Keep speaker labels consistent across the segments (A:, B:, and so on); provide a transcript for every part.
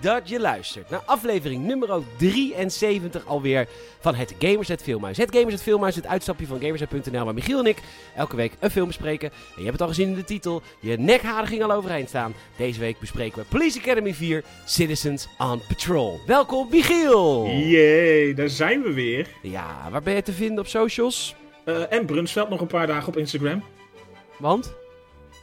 A: dat je luistert naar aflevering nummer 73 alweer van het Gamers het Filmhuis. Het Gamers het Filmhuis, het uitstapje van gamersnet.nl waar Michiel en ik elke week een film bespreken. En je hebt het al gezien in de titel, je nekharen ging al overeind staan. Deze week bespreken we Police Academy 4 Citizens on Patrol. Welkom Michiel!
B: Jee, daar zijn we weer.
A: Ja, waar ben je te vinden op socials?
B: Eh, en Brunsveld nog een paar dagen op Instagram.
A: Want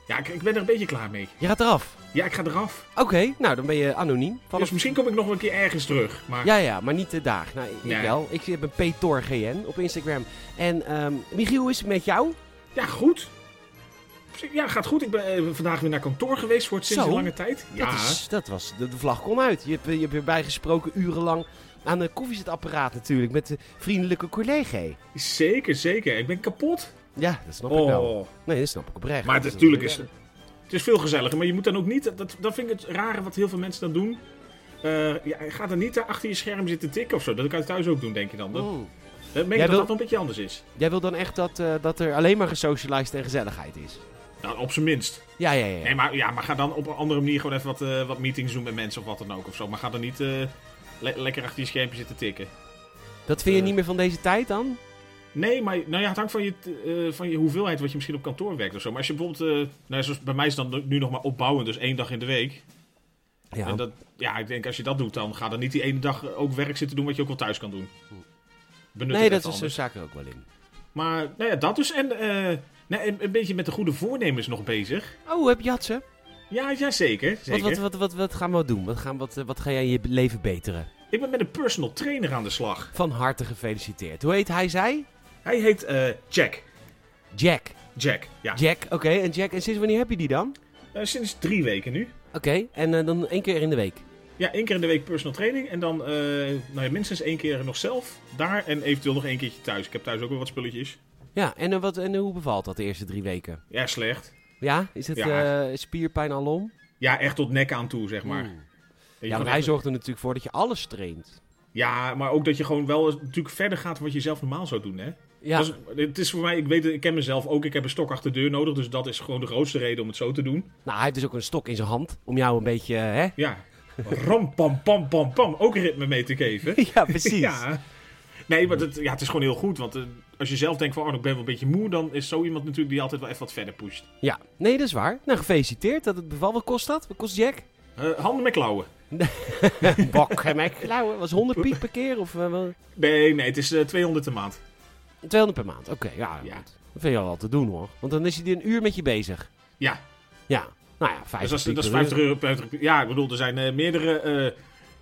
B: Ja, ik, ik ben er een beetje klaar mee.
A: je gaat eraf.
B: Ja, ik ga eraf.
A: Oké, nou dan ben je anoniem. Vanaf
B: Dus misschien kom ik nog wel een keer ergens terug. Maar
A: Ja, ja, maar niet de dag. Nou, ik
B: Nee.
A: wel. Ik heb een PTORGN op Instagram. En ehm Michiel, hoe is het met jou?
B: ja, goed. Op zich- Ja, gaat goed. Ik ben eh, vandaag weer naar kantoor geweest voor het sinds
A: Zo.
B: een lange tijd. Ja,
A: Dat, is, dat was, de, de vlag kon uit. Je hebt, eh, je hebt erbij gesproken urenlang aan de koffiezetapparaat natuurlijk. Met de vriendelijke collega.
B: zeker, zeker. Ik ben kapot.
A: Ja, dat snap ik wel.
B: Oh.
A: Nee, dat snap ik oprecht.
B: Maar
A: Dat
B: het, natuurlijk is
A: het.
B: het is veel gezelliger. Maar je moet dan ook niet... Dat, dat vind ik het rare wat heel veel mensen dan doen. Eh, ja, ga dan niet daar achter je scherm zitten tikken of zo. Dat kan je thuis ook doen, denk je dan. Dat,
A: Mm.
B: dat meen ik
A: Jij
B: dat
A: wil-
B: dat wel een beetje anders is.
A: Jij wil dan echt dat, eh, dat er alleen maar gesocialized en gezelligheid is?
B: Nou, op zijn minst.
A: Ja, ja, ja.
B: Nee, maar, ja, maar ga dan op een andere manier gewoon even wat, eh, wat meetings doen met mensen of wat dan ook. Of zo. Maar ga dan niet eh, le- lekker achter je schermpje zitten tikken.
A: dat vind je
B: eh.
A: niet meer van deze tijd dan?
B: Nee, maar nou ja, het hangt van je, t- eh, van je hoeveelheid wat je misschien op kantoor werkt of zo. Maar als je bijvoorbeeld, eh, nou, ja, zoals bij mij is dan nu nog maar opbouwen, dus één dag in de week.
A: Ja.
B: En dat, ja, ik denk als je dat doet, dan ga dan niet die ene dag eh, ook werk zitten doen wat je ook wel thuis kan doen. Benut
A: Hm. nee,
B: het
A: dat
B: even
A: is dus- zo'n
B: anders.
A: zaak er ook wel in.
B: Maar nou ja, dat dus. En eh, nee, een, een beetje met de goede voornemens nog bezig.
A: Oh, heb Jatsen?
B: Ja, ja zeker.
A: Wat,
B: zeker.
A: wat, wat, wat, wat gaan we doen? Wat, gaan, wat, eh, wat ga jij in je leven beteren?
B: Ik ben met een personal trainer aan de slag.
A: Van harte gefeliciteerd. Hoe heet hij, zij?
B: Hij heet eh, Jack.
A: Jack.
B: Jack, ja.
A: Jack, oké. En Jack, en sinds wanneer heb je die dan?
B: Eh, sinds drie weken nu.
A: Oké, en eh, dan één keer in de week.
B: Ja, één keer in de week personal training. En dan eh, nou ja, minstens één keer nog zelf daar. En eventueel nog één keertje thuis. Ik heb thuis ook wel wat spulletjes.
A: Ja, en, eh, wat, en hoe bevalt dat de eerste drie weken?
B: Ja, slecht.
A: Ja, is het
B: Ja.
A: eh, spierpijn alom?
B: Ja, echt tot nek aan toe, zeg
A: Mm.
B: maar. Dat je
A: Ja,
B: gewoon
A: want
B: echt-
A: hij zorgt er natuurlijk voor dat je alles traint.
B: Ja, maar ook dat je gewoon wel eens natuurlijk verder gaat wat je zelf normaal zou doen, hè.
A: Ja,
B: Dat is- het is voor mij, ik weet het, ik ken mezelf ook. Ik heb een stok achter de deur nodig. Dus dat is gewoon de grootste reden om het zo te doen.
A: nou hij heeft dus ook een stok in zijn hand om jou een beetje, eh, hè?
B: Ja. Ram, pam, pam, pam, pam. Ook ritme mee te geven.
A: ja, precies.
B: Ja. Nee, maar dat, ja, het is gewoon heel goed. Want eh, als je zelf denkt van, oh, ik ben wel een beetje moe, dan is zo iemand natuurlijk die altijd wel even wat verder pusht.
A: Ja, nee, dat is waar. Nou, gefeliciteerd dat het beval. Wat kost dat? Wat kost Jack?
B: Eh, handen met klauwen.
A: Bak, hè, Mac. Klauwen, was 100 piek per keer of eh, wel-
B: Nee, nee, het is eh, 200 een maand.
A: 200 per maand? Oké, ja,
B: Ja.
A: goed. Dat vind je al wel te doen hoor. Want dan is hij er een uur met je bezig.
B: Ja,
A: Ja, nou ja, 50
B: dus dat is,
A: piek
B: dat is
A: per uur.
B: 50 euro per... Ja, ik bedoel, er zijn eh, meerdere... eh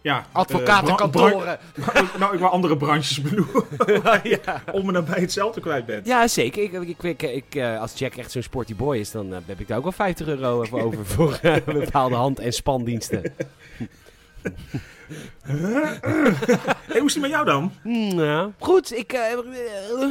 B: ja, eh,
A: Advocatenkantoren.
B: bran- bran- nou, ik wil andere branches benoemen.
A: ja.
B: om me nabij hetzelfde kwijt bent.
A: ja, zeker. Ik, ik, ik, ik, eh, als Jack echt zo'n sporty boy is, dan eh, heb ik daar ook wel 50 euro voor over voor eh, bepaalde hand- en spandiensten.
B: Hé, hoe is het met jou dan?
A: Hmm, ja. Goed, ik... eh, eh,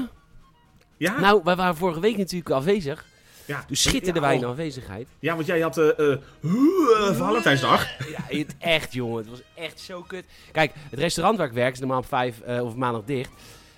B: Ja?
A: nou, wij waren vorige week natuurlijk afwezig.
B: ja.
A: Dus schitterden
B: ja,
A: wij
B: oh.
A: in afwezigheid.
B: Ja, want jij had eh eh, eh, Valentijnsdag.
A: Ja, het echt, jongen. Het was echt zo kut. Kijk, het restaurant waar ik werk is normaal op vijf eh, of maandag dicht.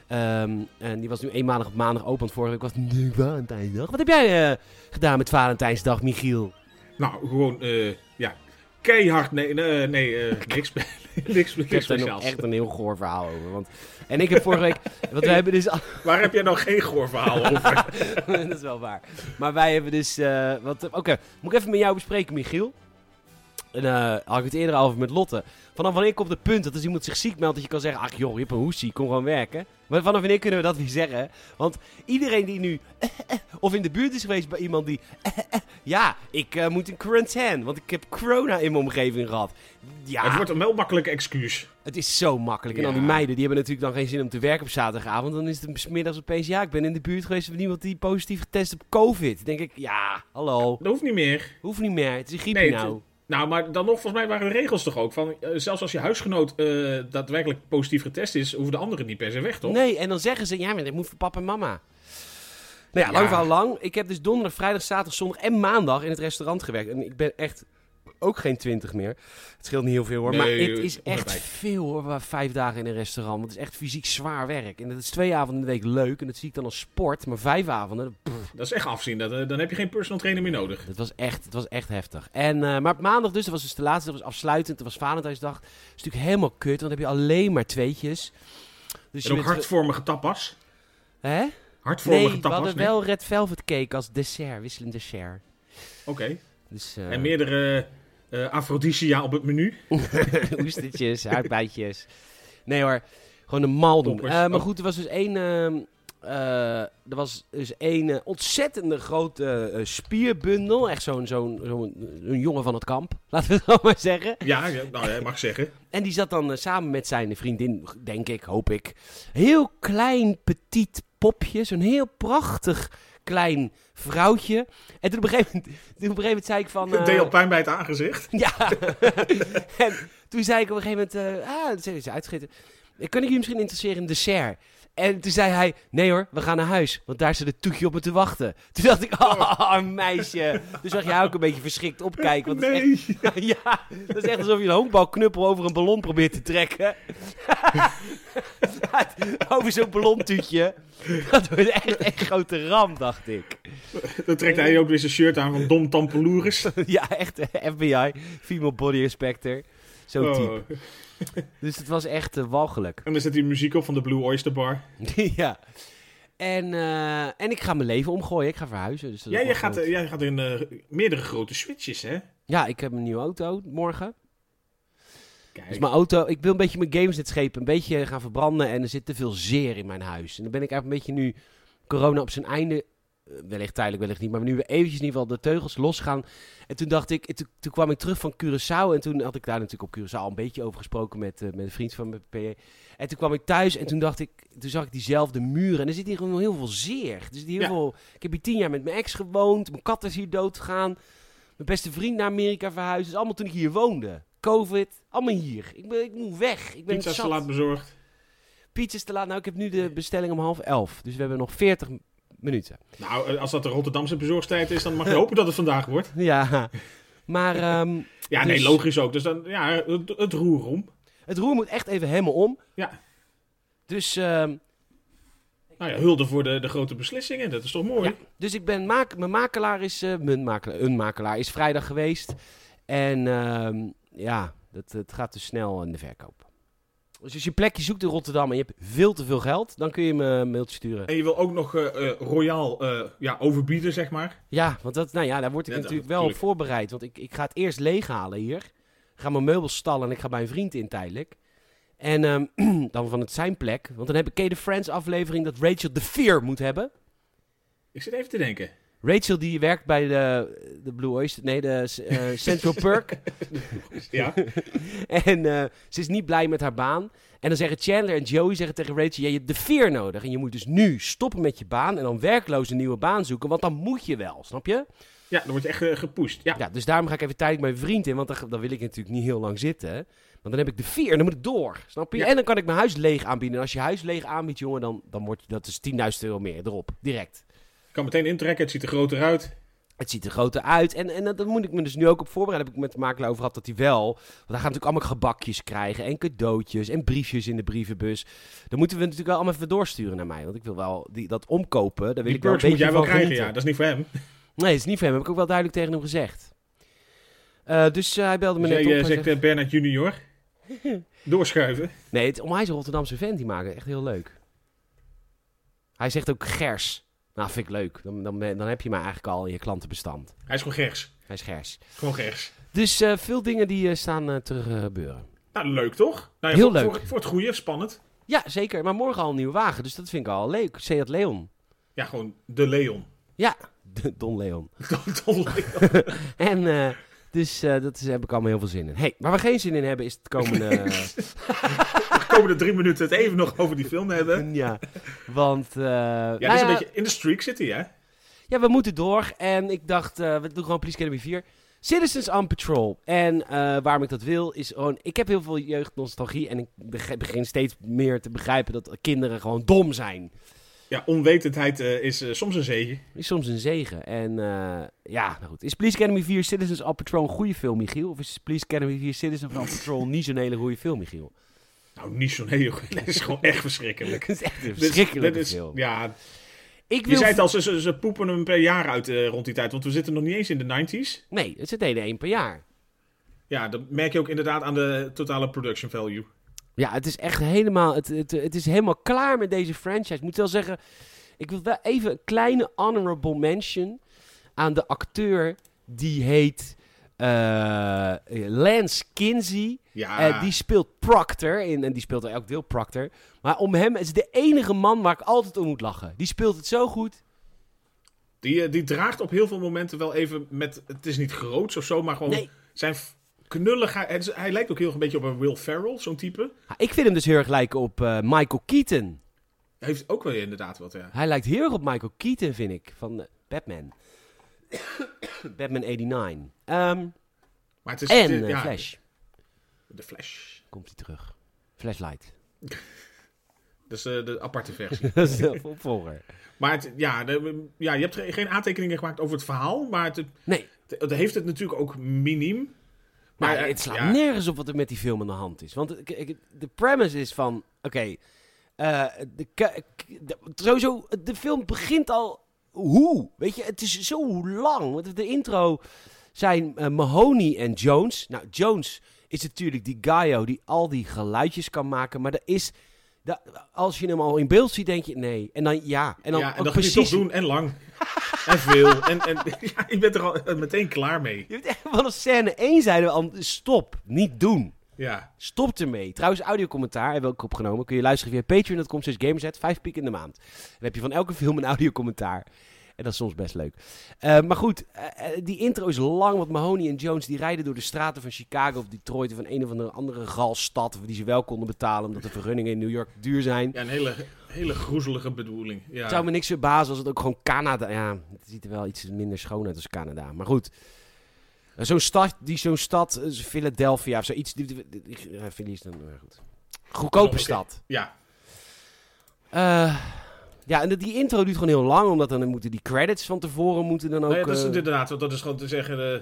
A: Ehm, en die was nu eenmalig op maandag open. Want vorige week was het nu Valentijnsdag. Wat heb jij eh, gedaan met Valentijnsdag, Michiel?
B: Nou, gewoon, eh, ja. Keihard, nee, nee, nee eh, niks, niks,
A: Ik heb
B: niks
A: daar nog
B: speciaals.
A: echt een heel goor verhaal over. Want... En ik heb vorige week... Want wij hebben dus... al-
B: Waar heb jij nou geen goor verhaal over?
A: dat is wel waar. Maar wij hebben dus... eh, wat... Oké, moet ik even met jou bespreken, Michiel? En, eh, had ik het eerder al over met Lotte. Vanaf wanneer komt het punt dat als iemand zich ziek meldt... dat je kan zeggen, ach joh, je hebt een hoestie, kom gewoon werken. Maar vanaf wanneer kunnen we dat weer zeggen? Want iedereen die nu... eh, of in de buurt is geweest bij iemand die... eh, ja, ik eh, moet in quarantaine, want ik heb corona in mijn omgeving gehad. Ja.
B: Het wordt een wel makkelijk excuus.
A: Het is zo makkelijk. En
B: Ja.
A: al die meiden, die hebben natuurlijk dan geen zin om te werken op zaterdagavond. Dan is het 's middags opeens, ja, ik ben in de buurt geweest van iemand die positief getest op COVID. Dan denk ik, ja, hallo,
B: Dat hoeft niet meer.
A: hoeft niet meer. Het is een griepje
B: Nee, het-
A: nou.
B: Nou, maar dan nog, volgens mij waren de regels toch ook van... eh, zelfs als je huisgenoot eh, daadwerkelijk positief getest is... hoeven de anderen niet per se weg, toch?
A: Nee, en dan zeggen ze, ja, maar dat moet voor papa en mama. Nou ja,
B: Ja.
A: lang verhaal lang. Ik heb dus donderdag, vrijdag, zaterdag, zondag en maandag in het restaurant gewerkt. En ik ben echt ook geen 20 meer. Het scheelt niet heel veel hoor.
B: Nee,
A: maar
B: joh,
A: het is
B: kom
A: echt
B: erbij.
A: veel hoor. waar Vijf dagen in een restaurant. Want het is echt fysiek zwaar werk. En dat is twee avonden in de week leuk. En dat zie ik dan als sport. Maar vijf avonden, pff,
B: Dat is echt afzien. Dat, eh, dan heb je geen personal trainer meer nodig.
A: dat was echt, dat was echt heftig. En, eh, maar op maandag dus, dat was dus de laatste. Dat was afsluitend. Dat was Valentijnsdag. Dat is natuurlijk helemaal kut. Want dan heb je alleen maar tweetjes. Dus
B: en ook
A: bent-
B: hartvormige tapas.
A: Hè?
B: Hartvormige
A: Nee, we
B: tapas.
A: hadden
B: nee?
A: wel Red Velvet Cake als dessert. Wisselend dessert.
B: Oké.
A: Dus, eh,
B: En meerdere eh afrodisia op het menu.
A: Oestertjes, aardbeidjes. Nee hoor, gewoon een mal doen.
B: Poppers.
A: Eh, maar
B: Oh.
A: goed, er was dus één... ehm, eh, er was dus één eh, ontzettende grote eh, spierbundel. Echt zo'n zo'n zo'n een jongen van het kamp, laten we het zo maar zeggen.
B: Ja, ja, nou, ja, mag zeggen.
A: En die zat dan eh, samen met zijn vriendin, denk ik, hoop ik. Heel klein, petit popje. Zo'n heel prachtig klein vrouwtje. En toen op een gegeven moment, toen op een gegeven moment zei ik van...
B: Het
A: eh,
B: deed al pijn bij het aangezicht.
A: ja. en toen zei ik op een gegeven moment... eh, ah, toen zei ze uitgegeten. Eh, Kan ik jullie misschien interesseren in een dessert? En toen zei hij, nee hoor, we gaan naar huis. Want daar zit het toetje op me te wachten. Toen dacht ik, oh, meisje. Dus zag jij ook een beetje verschrikt opkijken. Want het is
B: Nee.
A: echt, ja, dat is echt alsof je een honkbalknuppel over een ballon probeert te trekken. over zo'n ballontuutje. Dat wordt echt een grote ramp, dacht ik.
B: Dan trekt hij ook weer zijn shirt aan van Dom Tampeloeris.
A: Ja, echt eh, FBI, Female Body Inspector. Zo'n type.
B: Oh.
A: Dus het was echt eh, walgelijk.
B: En dan zet hij muziek op van de Blue Oyster Bar.
A: ja. En, eh, en ik ga mijn leven omgooien. Ik ga verhuizen. Dus dat
B: Ja,
A: is
B: jij
A: wel
B: gaat,
A: goed.
B: eh, jij gaat in eh, meerdere grote switches, hè?
A: Ja, ik heb een nieuwe auto morgen.
B: Kijk.
A: Dus mijn auto... Ik wil een beetje mijn games net schepen. Een beetje gaan verbranden. En er zit te veel zeer in mijn huis. En dan ben ik eigenlijk een beetje nu... Corona op zijn einde... eh, Wellicht tijdelijk, wellicht niet. Maar nu weer eventjes in ieder geval de teugels losgaan. En toen dacht ik... en Toen, toen kwam ik terug van Curaçao. En toen had ik daar natuurlijk op Curaçao al een beetje over gesproken met, eh, met een vriend van mijn PA. En toen kwam ik thuis en toen dacht ik, toen zag ik diezelfde muren. En er zit hier gewoon heel veel zeer. Er zit hier heel
B: Ja.
A: veel, ik heb hier tien jaar met mijn ex gewoond. Mijn kat is hier doodgegaan. Mijn beste vriend naar Amerika verhuisd. Dat is allemaal toen ik hier woonde. Covid, allemaal hier. Ik, ben, ik moet weg. Ik ben
B: Pizza's
A: het zat.
B: te laat bezorgd.
A: Pizza's te laat. Nou, ik heb nu de bestelling om half elf. Dus we hebben nog 40 m- minuten.
B: Nou, eh, als dat de Rotterdamse bezorgstijd is, dan mag je hopen dat het vandaag wordt.
A: Ja, maar ehm, Dus-
B: Ja, nee, logisch ook. Dus dan, ja, het, het roer om.
A: het roer moet echt even helemaal om.
B: Ja.
A: Dus, ehm,
B: Nou ja, hulde voor de, de grote beslissingen. Dat is toch mooi?
A: Ja. dus ik ben maak, mijn makelaar is, eh, mijn makelaar, een makelaar is vrijdag geweest. En ehm, ja, dat, het gaat dus snel in de verkoop. Dus als je een plekje zoekt in Rotterdam en je hebt veel te veel geld, dan kun je me een mailtje sturen.
B: En je wil ook nog eh, eh, royaal eh, ja, overbieden, zeg maar.
A: Ja, want dat, nou ja, daar word ik
B: Ja, dat-
A: natuurlijk wel op
B: tuurlijk.
A: voorbereid. Want ik, ik ga het eerst leeghalen hier. Ik ga mijn meubels stallen en ik ga bij een vriend in tijdelijk. En ehm, dan van het zijn plek. Want dan heb ik Kay de Friends aflevering dat Rachel de Fear moet hebben.
B: Ik zit even te denken.
A: Rachel die werkt bij de, de Blue Oyster, nee, de eh, Central Perk.
B: Ja,
A: en eh, ze is niet blij met haar baan. En dan zeggen Chandler en Joey zeggen tegen Rachel, ja, je hebt de Fear nodig. En je moet dus nu stoppen met je baan en dan werkloos een nieuwe baan zoeken. Want dan moet je wel, snap je?
B: ja dan word je echt eh, gepusht. Ja.
A: Ja, dus daarom ga ik even tijdelijk mijn vriend in, want dan, dan wil ik natuurlijk niet heel lang zitten. hè. Want dan heb ik de vier en dan moet ik door, snap je?
B: Ja.
A: En dan kan ik mijn huis leeg aanbieden. En als je huis leeg aanbiedt, jongen, dan, dan wordt dat is 10.000 euro meer erop, direct.
B: Ik kan meteen intrekken, het ziet er groter uit.
A: Het ziet er groter uit. En, en dat- daar moet ik me dus nu ook op voorbereiden. Heb ik met de makelaar over gehad dat hij wel. Want hij gaat natuurlijk allemaal gebakjes krijgen. En cadeautjes. En briefjes in de brievenbus. Dan moeten we natuurlijk wel allemaal even doorsturen naar mij. Want ik wil wel die, dat omkopen. Daar wil
B: Die
A: ik wel een
B: perks moet
A: beetje
B: jij wel
A: van
B: krijgen,
A: genieten.
B: ja. Dat is niet voor hem.
A: Nee, dat is niet van hem. Heb ik ook wel duidelijk tegen hem gezegd. Eh, dus eh, hij belde me
B: Dus
A: net
B: jij
A: op.
B: eh,
A: Hij
B: zegt eh, Bernard junior. Doorschuiven.
A: Nee, het, om hij is een Rotterdamse vent, die maken het echt heel leuk. Hij zegt ook gers. Nou, vind ik leuk. Dan, dan, ben- dan heb je mij eigenlijk al in je klantenbestand.
B: Hij is gewoon gers.
A: Hij is gers.
B: Gewoon gers.
A: Dus eh, veel dingen die eh, staan eh, te gebeuren.
B: Nou, leuk toch? Nou, ja,
A: Heel
B: voor,
A: leuk.
B: Voor, voor het goede, spannend.
A: Ja, zeker. Maar morgen al een nieuwe wagen, dus dat vind ik al leuk. Seat Leon.
B: Ja, gewoon de Leon.
A: Ja, de Don Leon.
B: Don Leon.
A: En eh, dus eh, dat is, heb ik allemaal heel veel zin in. hey, waar we geen zin in hebben is het komende... eh,
B: De komende drie minuten het even nog over die film hebben. Ja,
A: ja, want... eh, nou
B: dit is een beetje in de streak zitten, hè?
A: Ja, we moeten door. En ik dacht, eh, we doen gewoon Police Academy 4. Citizens on Patrol. En eh, waarom ik dat wil, is gewoon... Ik heb heel veel jeugdnostalgie en ik beg- begin steeds meer te begrijpen dat kinderen gewoon dom zijn.
B: Ja, onwetendheid eh, is eh, soms een zegen.
A: Is soms een zegen. En eh, ja, nou goed. Is Police Academy 4 Citizens of Patrol een goede film, Michiel? Of is Police Academy 4 Citizens of Patrol niet zo'n hele goede film, Michiel?
B: Nou, niet zo'n hele goede. Dat is gewoon echt verschrikkelijk.
A: Het is echt een
B: Dit-
A: verschrikkelijke
B: dit is-
A: film.
B: Ja,
A: Ik
B: je
A: wil...
B: zei het al, ze, ze, ze poepen hem per jaar uit eh, rond die tijd. Want we zitten nog niet eens in de 90s.
A: Nee, het zit hele één per jaar.
B: Ja, dat merk je ook inderdaad aan de totale production value.
A: Ja, het is echt helemaal... Het, het, het is helemaal klaar met deze franchise. Ik moet wel zeggen... Ik wil wel even een kleine honorable mention aan de acteur die heet eh, Lance Kinsey.
B: Ja,
A: Eh, die speelt Proctor in, en die speelt elk deel Proctor. Maar om hem is de enige man waar ik altijd om moet lachen. Die speelt het zo goed.
B: die, eh, die draagt op heel veel momenten wel even met... Het is niet groots of zo, maar gewoon
A: Nee.
B: zijn f- knulligheid. het is- Hij lijkt ook heel erg een beetje op een Will Ferrell, zo'n type.
A: Ha, Ik vind hem dus heel erg lijken op eh, Michael Keaton.
B: Hij heeft ook wel inderdaad wat, ja.
A: Hij lijkt heel erg op Michael Keaton, vind ik, van eh, Batman. Batman 89. Ehm,
B: Maar het is,
A: en
B: de-
A: eh,
B: ja,
A: Flash.
B: De Flash.
A: Komt hij terug. Flashlight.
B: Dat is eh, de aparte versie.
A: Dat is de opvolger.
B: maar het- ja, de- ja, je hebt ge- geen aantekeningen gemaakt over het verhaal. Maar het,
A: Nee,
B: het- het heeft het natuurlijk ook miniem.
A: Maar
B: eh,
A: het slaat
B: ja.
A: nergens op wat er met die film aan de hand is. Want ik- ik- de premise is van, oké, eh, de ka- k- de- sowieso, de film begint al, hoe? Weet je, het is zo lang. Want de intro zijn eh, Mahoney en Jones. Nou, Jones is natuurlijk die Gaio die al die geluidjes kan maken, maar er is... da- als je hem al in beeld ziet, denk je nee. En dan ja. En dan,
B: ja, en
A: ook
B: dat
A: precies.
B: precies... je toch doen en lang. en veel. En, en ja, ik ben er al eh, meteen klaar mee.
A: Je hebt echt vanaf scène 1 zeiden we al: stop, niet doen.
B: Ja.
A: Stop ermee. Trouwens, audiocommentaar hebben we ook opgenomen. Kun je luisteren via patreon.com slash gamerset. Vijf piek in de maand. Dan heb je van elke film een audiocommentaar. En dat is soms best leuk. Eh, maar goed, eh, eh, die intro is lang. Want Mahoney en Jones die rijden door de straten van Chicago of Detroit... of van een of andere andere galstad die ze wel konden betalen... omdat de vergunningen in New York duur zijn.
B: ja, een hele, hele groezelige bedoeling. Ja.
A: Het zou me niks verbazen als het ook gewoon Canada... Ja, het ziet er wel iets minder schoon uit als Canada. Maar goed. Eh, Zo'n stad, die zo'n stad, eh, Philadelphia of zoiets. Die, die, die- die- eh, Philly is dan maar goed. Goedkope
B: Oh, oké.
A: stad.
B: Ja.
A: Eh, ja, en dat- die intro duurt gewoon heel lang, omdat dan moeten die credits van tevoren moeten dan ook...
B: Nou ja, dat is
A: eh,
B: inderdaad, want dat is gewoon te zeggen... eh,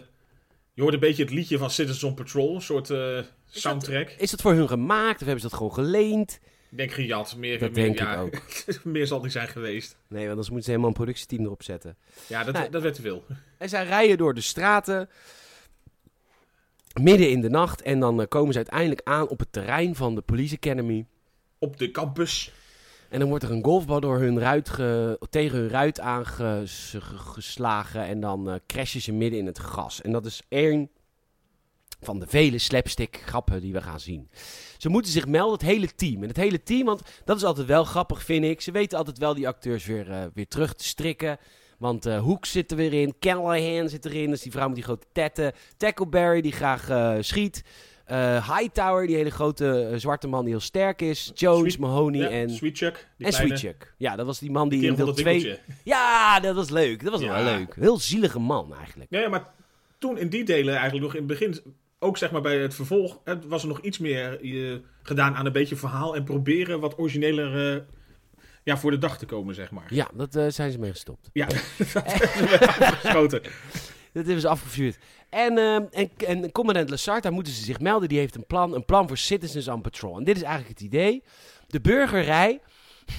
B: je hoort een beetje het liedje van Citizen on Patrol, een soort eh, soundtrack.
A: is dat voor hun gemaakt of hebben ze dat gewoon geleend?
B: Ik denk gejat, meer,
A: Dat
B: meer,
A: denk
B: ja,
A: ik ook.
B: meer zal niet zijn geweest.
A: Nee, want anders moeten ze helemaal een productieteam erop zetten.
B: Ja, dat,
A: Nee.
B: dat werd te veel.
A: En zij rijden door de straten, midden in de nacht, en dan eh, komen ze uiteindelijk aan op het terrein van de Police Academy.
B: Op de campus.
A: En dan wordt er een golfbal door hun ruit ge- tegen hun ruit aangeslagen. En dan eh, crashen ze midden in het gras. En dat is één van de vele slapstick grappen die we gaan zien. Ze moeten zich melden, het hele team. En het hele team, want dat is altijd wel grappig, vind ik. Ze weten altijd wel die acteurs weer, eh, weer terug te strikken. Want eh Hoek zit er weer in, Callahan zit erin, dat is die vrouw met die grote tetten. Tackleberry, die graag eh, schiet. Eh, Hightower, die hele grote eh, zwarte man die heel sterk is. Jones,
B: Sweet-
A: Mahoney
B: Ja,
A: en
B: Sweet Chuck. Die
A: en
B: kleine,
A: Sweet Chuck. Ja, dat was die man die
B: kerel
A: in
B: van
A: deel
B: dat
A: 2...
B: winkeltje.
A: Ja, dat was leuk. Dat was
B: Ja.
A: wel leuk. Heel zielige man eigenlijk.
B: Ja, ja, maar toen in die delen eigenlijk nog in het begin, ook zeg maar bij het vervolg, het was er nog iets meer eh, gedaan aan een beetje verhaal en proberen wat origineler eh, ja, voor de dag te komen, zeg maar.
A: Ja, dat eh, zijn ze mee gestopt.
B: Ja, dat hebben we afgeschoten.
A: Dat hebben ze afgevuurd. En, ehm, en, en commandant Lassard, daar moeten ze zich melden. Die heeft een plan, een plan voor Citizens on Patrol. En dit is eigenlijk het idee. De burgerij... De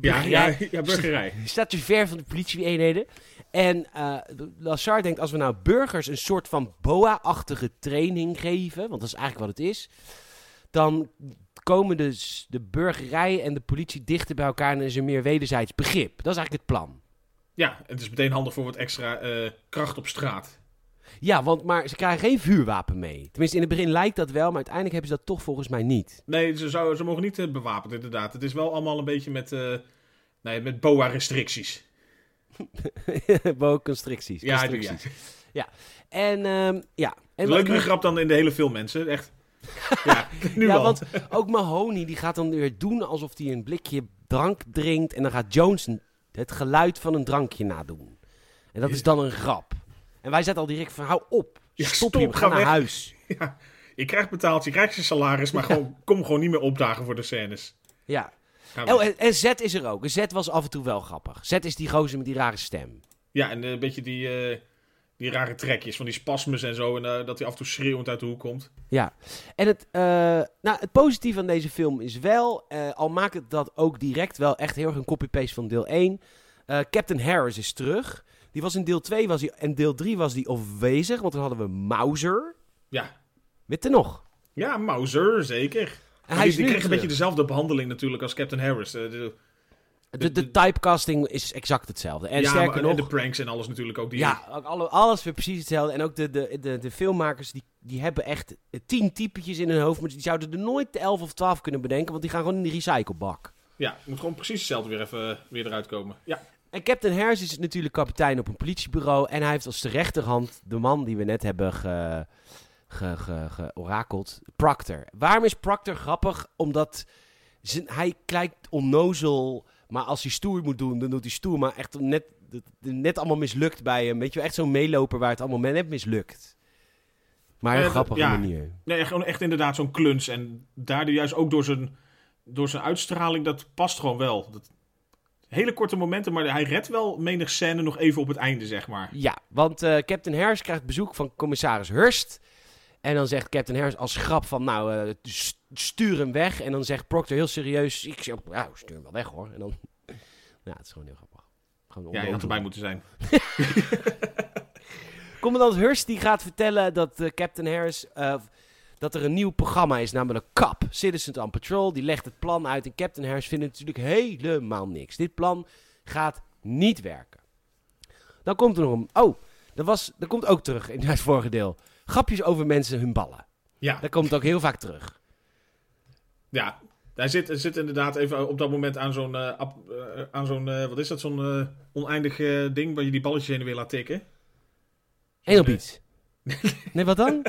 B: Ja,
A: burgerij
B: ja, ja, burgerij.
A: staat te ver van de politie-eenheden. En eh Lassard denkt, als we nou burgers een soort van boa-achtige training geven... want dat is eigenlijk wat het is... dan komen dus de burgerij en de politie dichter bij elkaar... en is er meer wederzijds begrip. Dat is eigenlijk het plan.
B: Ja, het is meteen handig voor wat extra eh, kracht op straat.
A: Ja, want, maar ze krijgen geen vuurwapen mee. Tenminste, in het begin lijkt dat wel... maar uiteindelijk hebben ze dat toch volgens mij niet.
B: Nee, ze, zou, ze mogen niet eh, bewapend, inderdaad. Het is wel allemaal een beetje met, eh, nee, met boa-restricties.
A: Boa-constricties.
B: Ja,
A: constricties.
B: ja.
A: En ehm, ja... En
B: Leukere grap dan in de hele film, mensen. Echt. Ja, nu
A: ja,
B: al.
A: want ook Mahoney die gaat dan weer doen alsof hij een blikje drank drinkt. En dan gaat Jones n- het geluid van een drankje nadoen. En dat is dan een grap. En wij zetten al direct van, hou op.
B: Ja,
A: stop,
B: stop,
A: je, we
B: ga
A: gaan naar
B: weg.
A: huis.
B: Ja, je krijgt betaald, je krijgt je salaris, maar gewoon, kom gewoon niet meer opdagen voor de scènes.
A: Ja.
B: Gaan we
A: Oh, en, en Z is er ook. Z was af en toe wel grappig. Z is die gozer met die rare stem.
B: Ja, en eh, een beetje die, eh, die rare trekjes van die spasmes en zo. En eh, dat hij af en toe schreeuwend uit de hoek komt.
A: Ja, en het, eh, nou, het positieve aan deze film is wel, eh, al maakt het dat ook direct wel echt heel erg een copy-paste van deel 1. Eh, Captain Harris is terug. Die was in deel 2 was die, en deel 3 was die afwezig, want toen hadden we Mauser.
B: Ja,
A: Weet je nog?
B: ja Mauser, zeker.
A: En
B: Maar Oh, die, die
A: nu
B: kreeg een beetje
A: terug.
B: dezelfde behandeling natuurlijk als Captain Harris. Eh, de,
A: de, de typecasting is exact hetzelfde. En
B: ja, maar-
A: sterker nog,
B: en de pranks en alles natuurlijk ook. Die,
A: ja, ook alle, alles weer precies hetzelfde. En ook de, de, de, de filmmakers, die, die hebben echt eh, tien typetjes in hun hoofd, maar die zouden er nooit 11 of 12 kunnen bedenken, want die gaan gewoon in de recyclebak.
B: ja, moet gewoon precies hetzelfde weer even eh, weer eruit komen. Ja,
A: En Captain Harris is natuurlijk kapitein op een politiebureau. En hij heeft als de rechterhand de man die we net hebben ge, ge, ge- georakeld, Proctor. Waarom is Proctor grappig? Omdat zijn, hij kijkt onnozel. Maar als hij stoer moet doen, dan doet hij stoer. Maar echt net, dat- net allemaal mislukt bij hem. Weet je wel, echt zo'n meeloper waar het allemaal net mislukt. Maar
B: Ja,
A: een
B: Eh, dat-
A: grappige
B: ja.
A: manier.
B: nee, gewoon echt inderdaad zo'n kluns. En daardoor juist ook door zijn, door zijn uitstraling, dat past gewoon wel. Dat, hele korte momenten, maar hij redt wel menig scène nog even op het einde, zeg maar.
A: Ja, want eh, Captain Harris krijgt bezoek van commissaris Hurst. En dan zegt Captain Harris als grap van, nou, eh, st- stuur hem weg. En dan zegt Proctor heel serieus, ik zeg, nou, stuur hem wel weg hoor. En dan, ja, het is gewoon heel grappig. Gewoon
B: Ja, je had
A: onnozel.
B: erbij moeten zijn.
A: Commandant Hurst die gaat vertellen dat eh, Captain Harris. eh, dat er een nieuw programma is, namelijk CAP, Citizens on Patrol. Die legt het plan uit en Captain Harris vindt het natuurlijk helemaal niks. Dit plan gaat niet werken. Dan komt er nog een... Oh, dat, was, dat komt ook terug in het vorige deel. Grapjes over mensen hun ballen.
B: Ja,
A: Dat komt ook heel vaak terug.
B: Ja, hij zit, hij zit inderdaad even op dat moment aan zo'n, eh, app- eh, aan zo'n eh, wat is dat, zo'n eh, oneindig eh, ding waar je die balletjes heen en weer laat tikken.
A: En op iets. Nee, wat dan?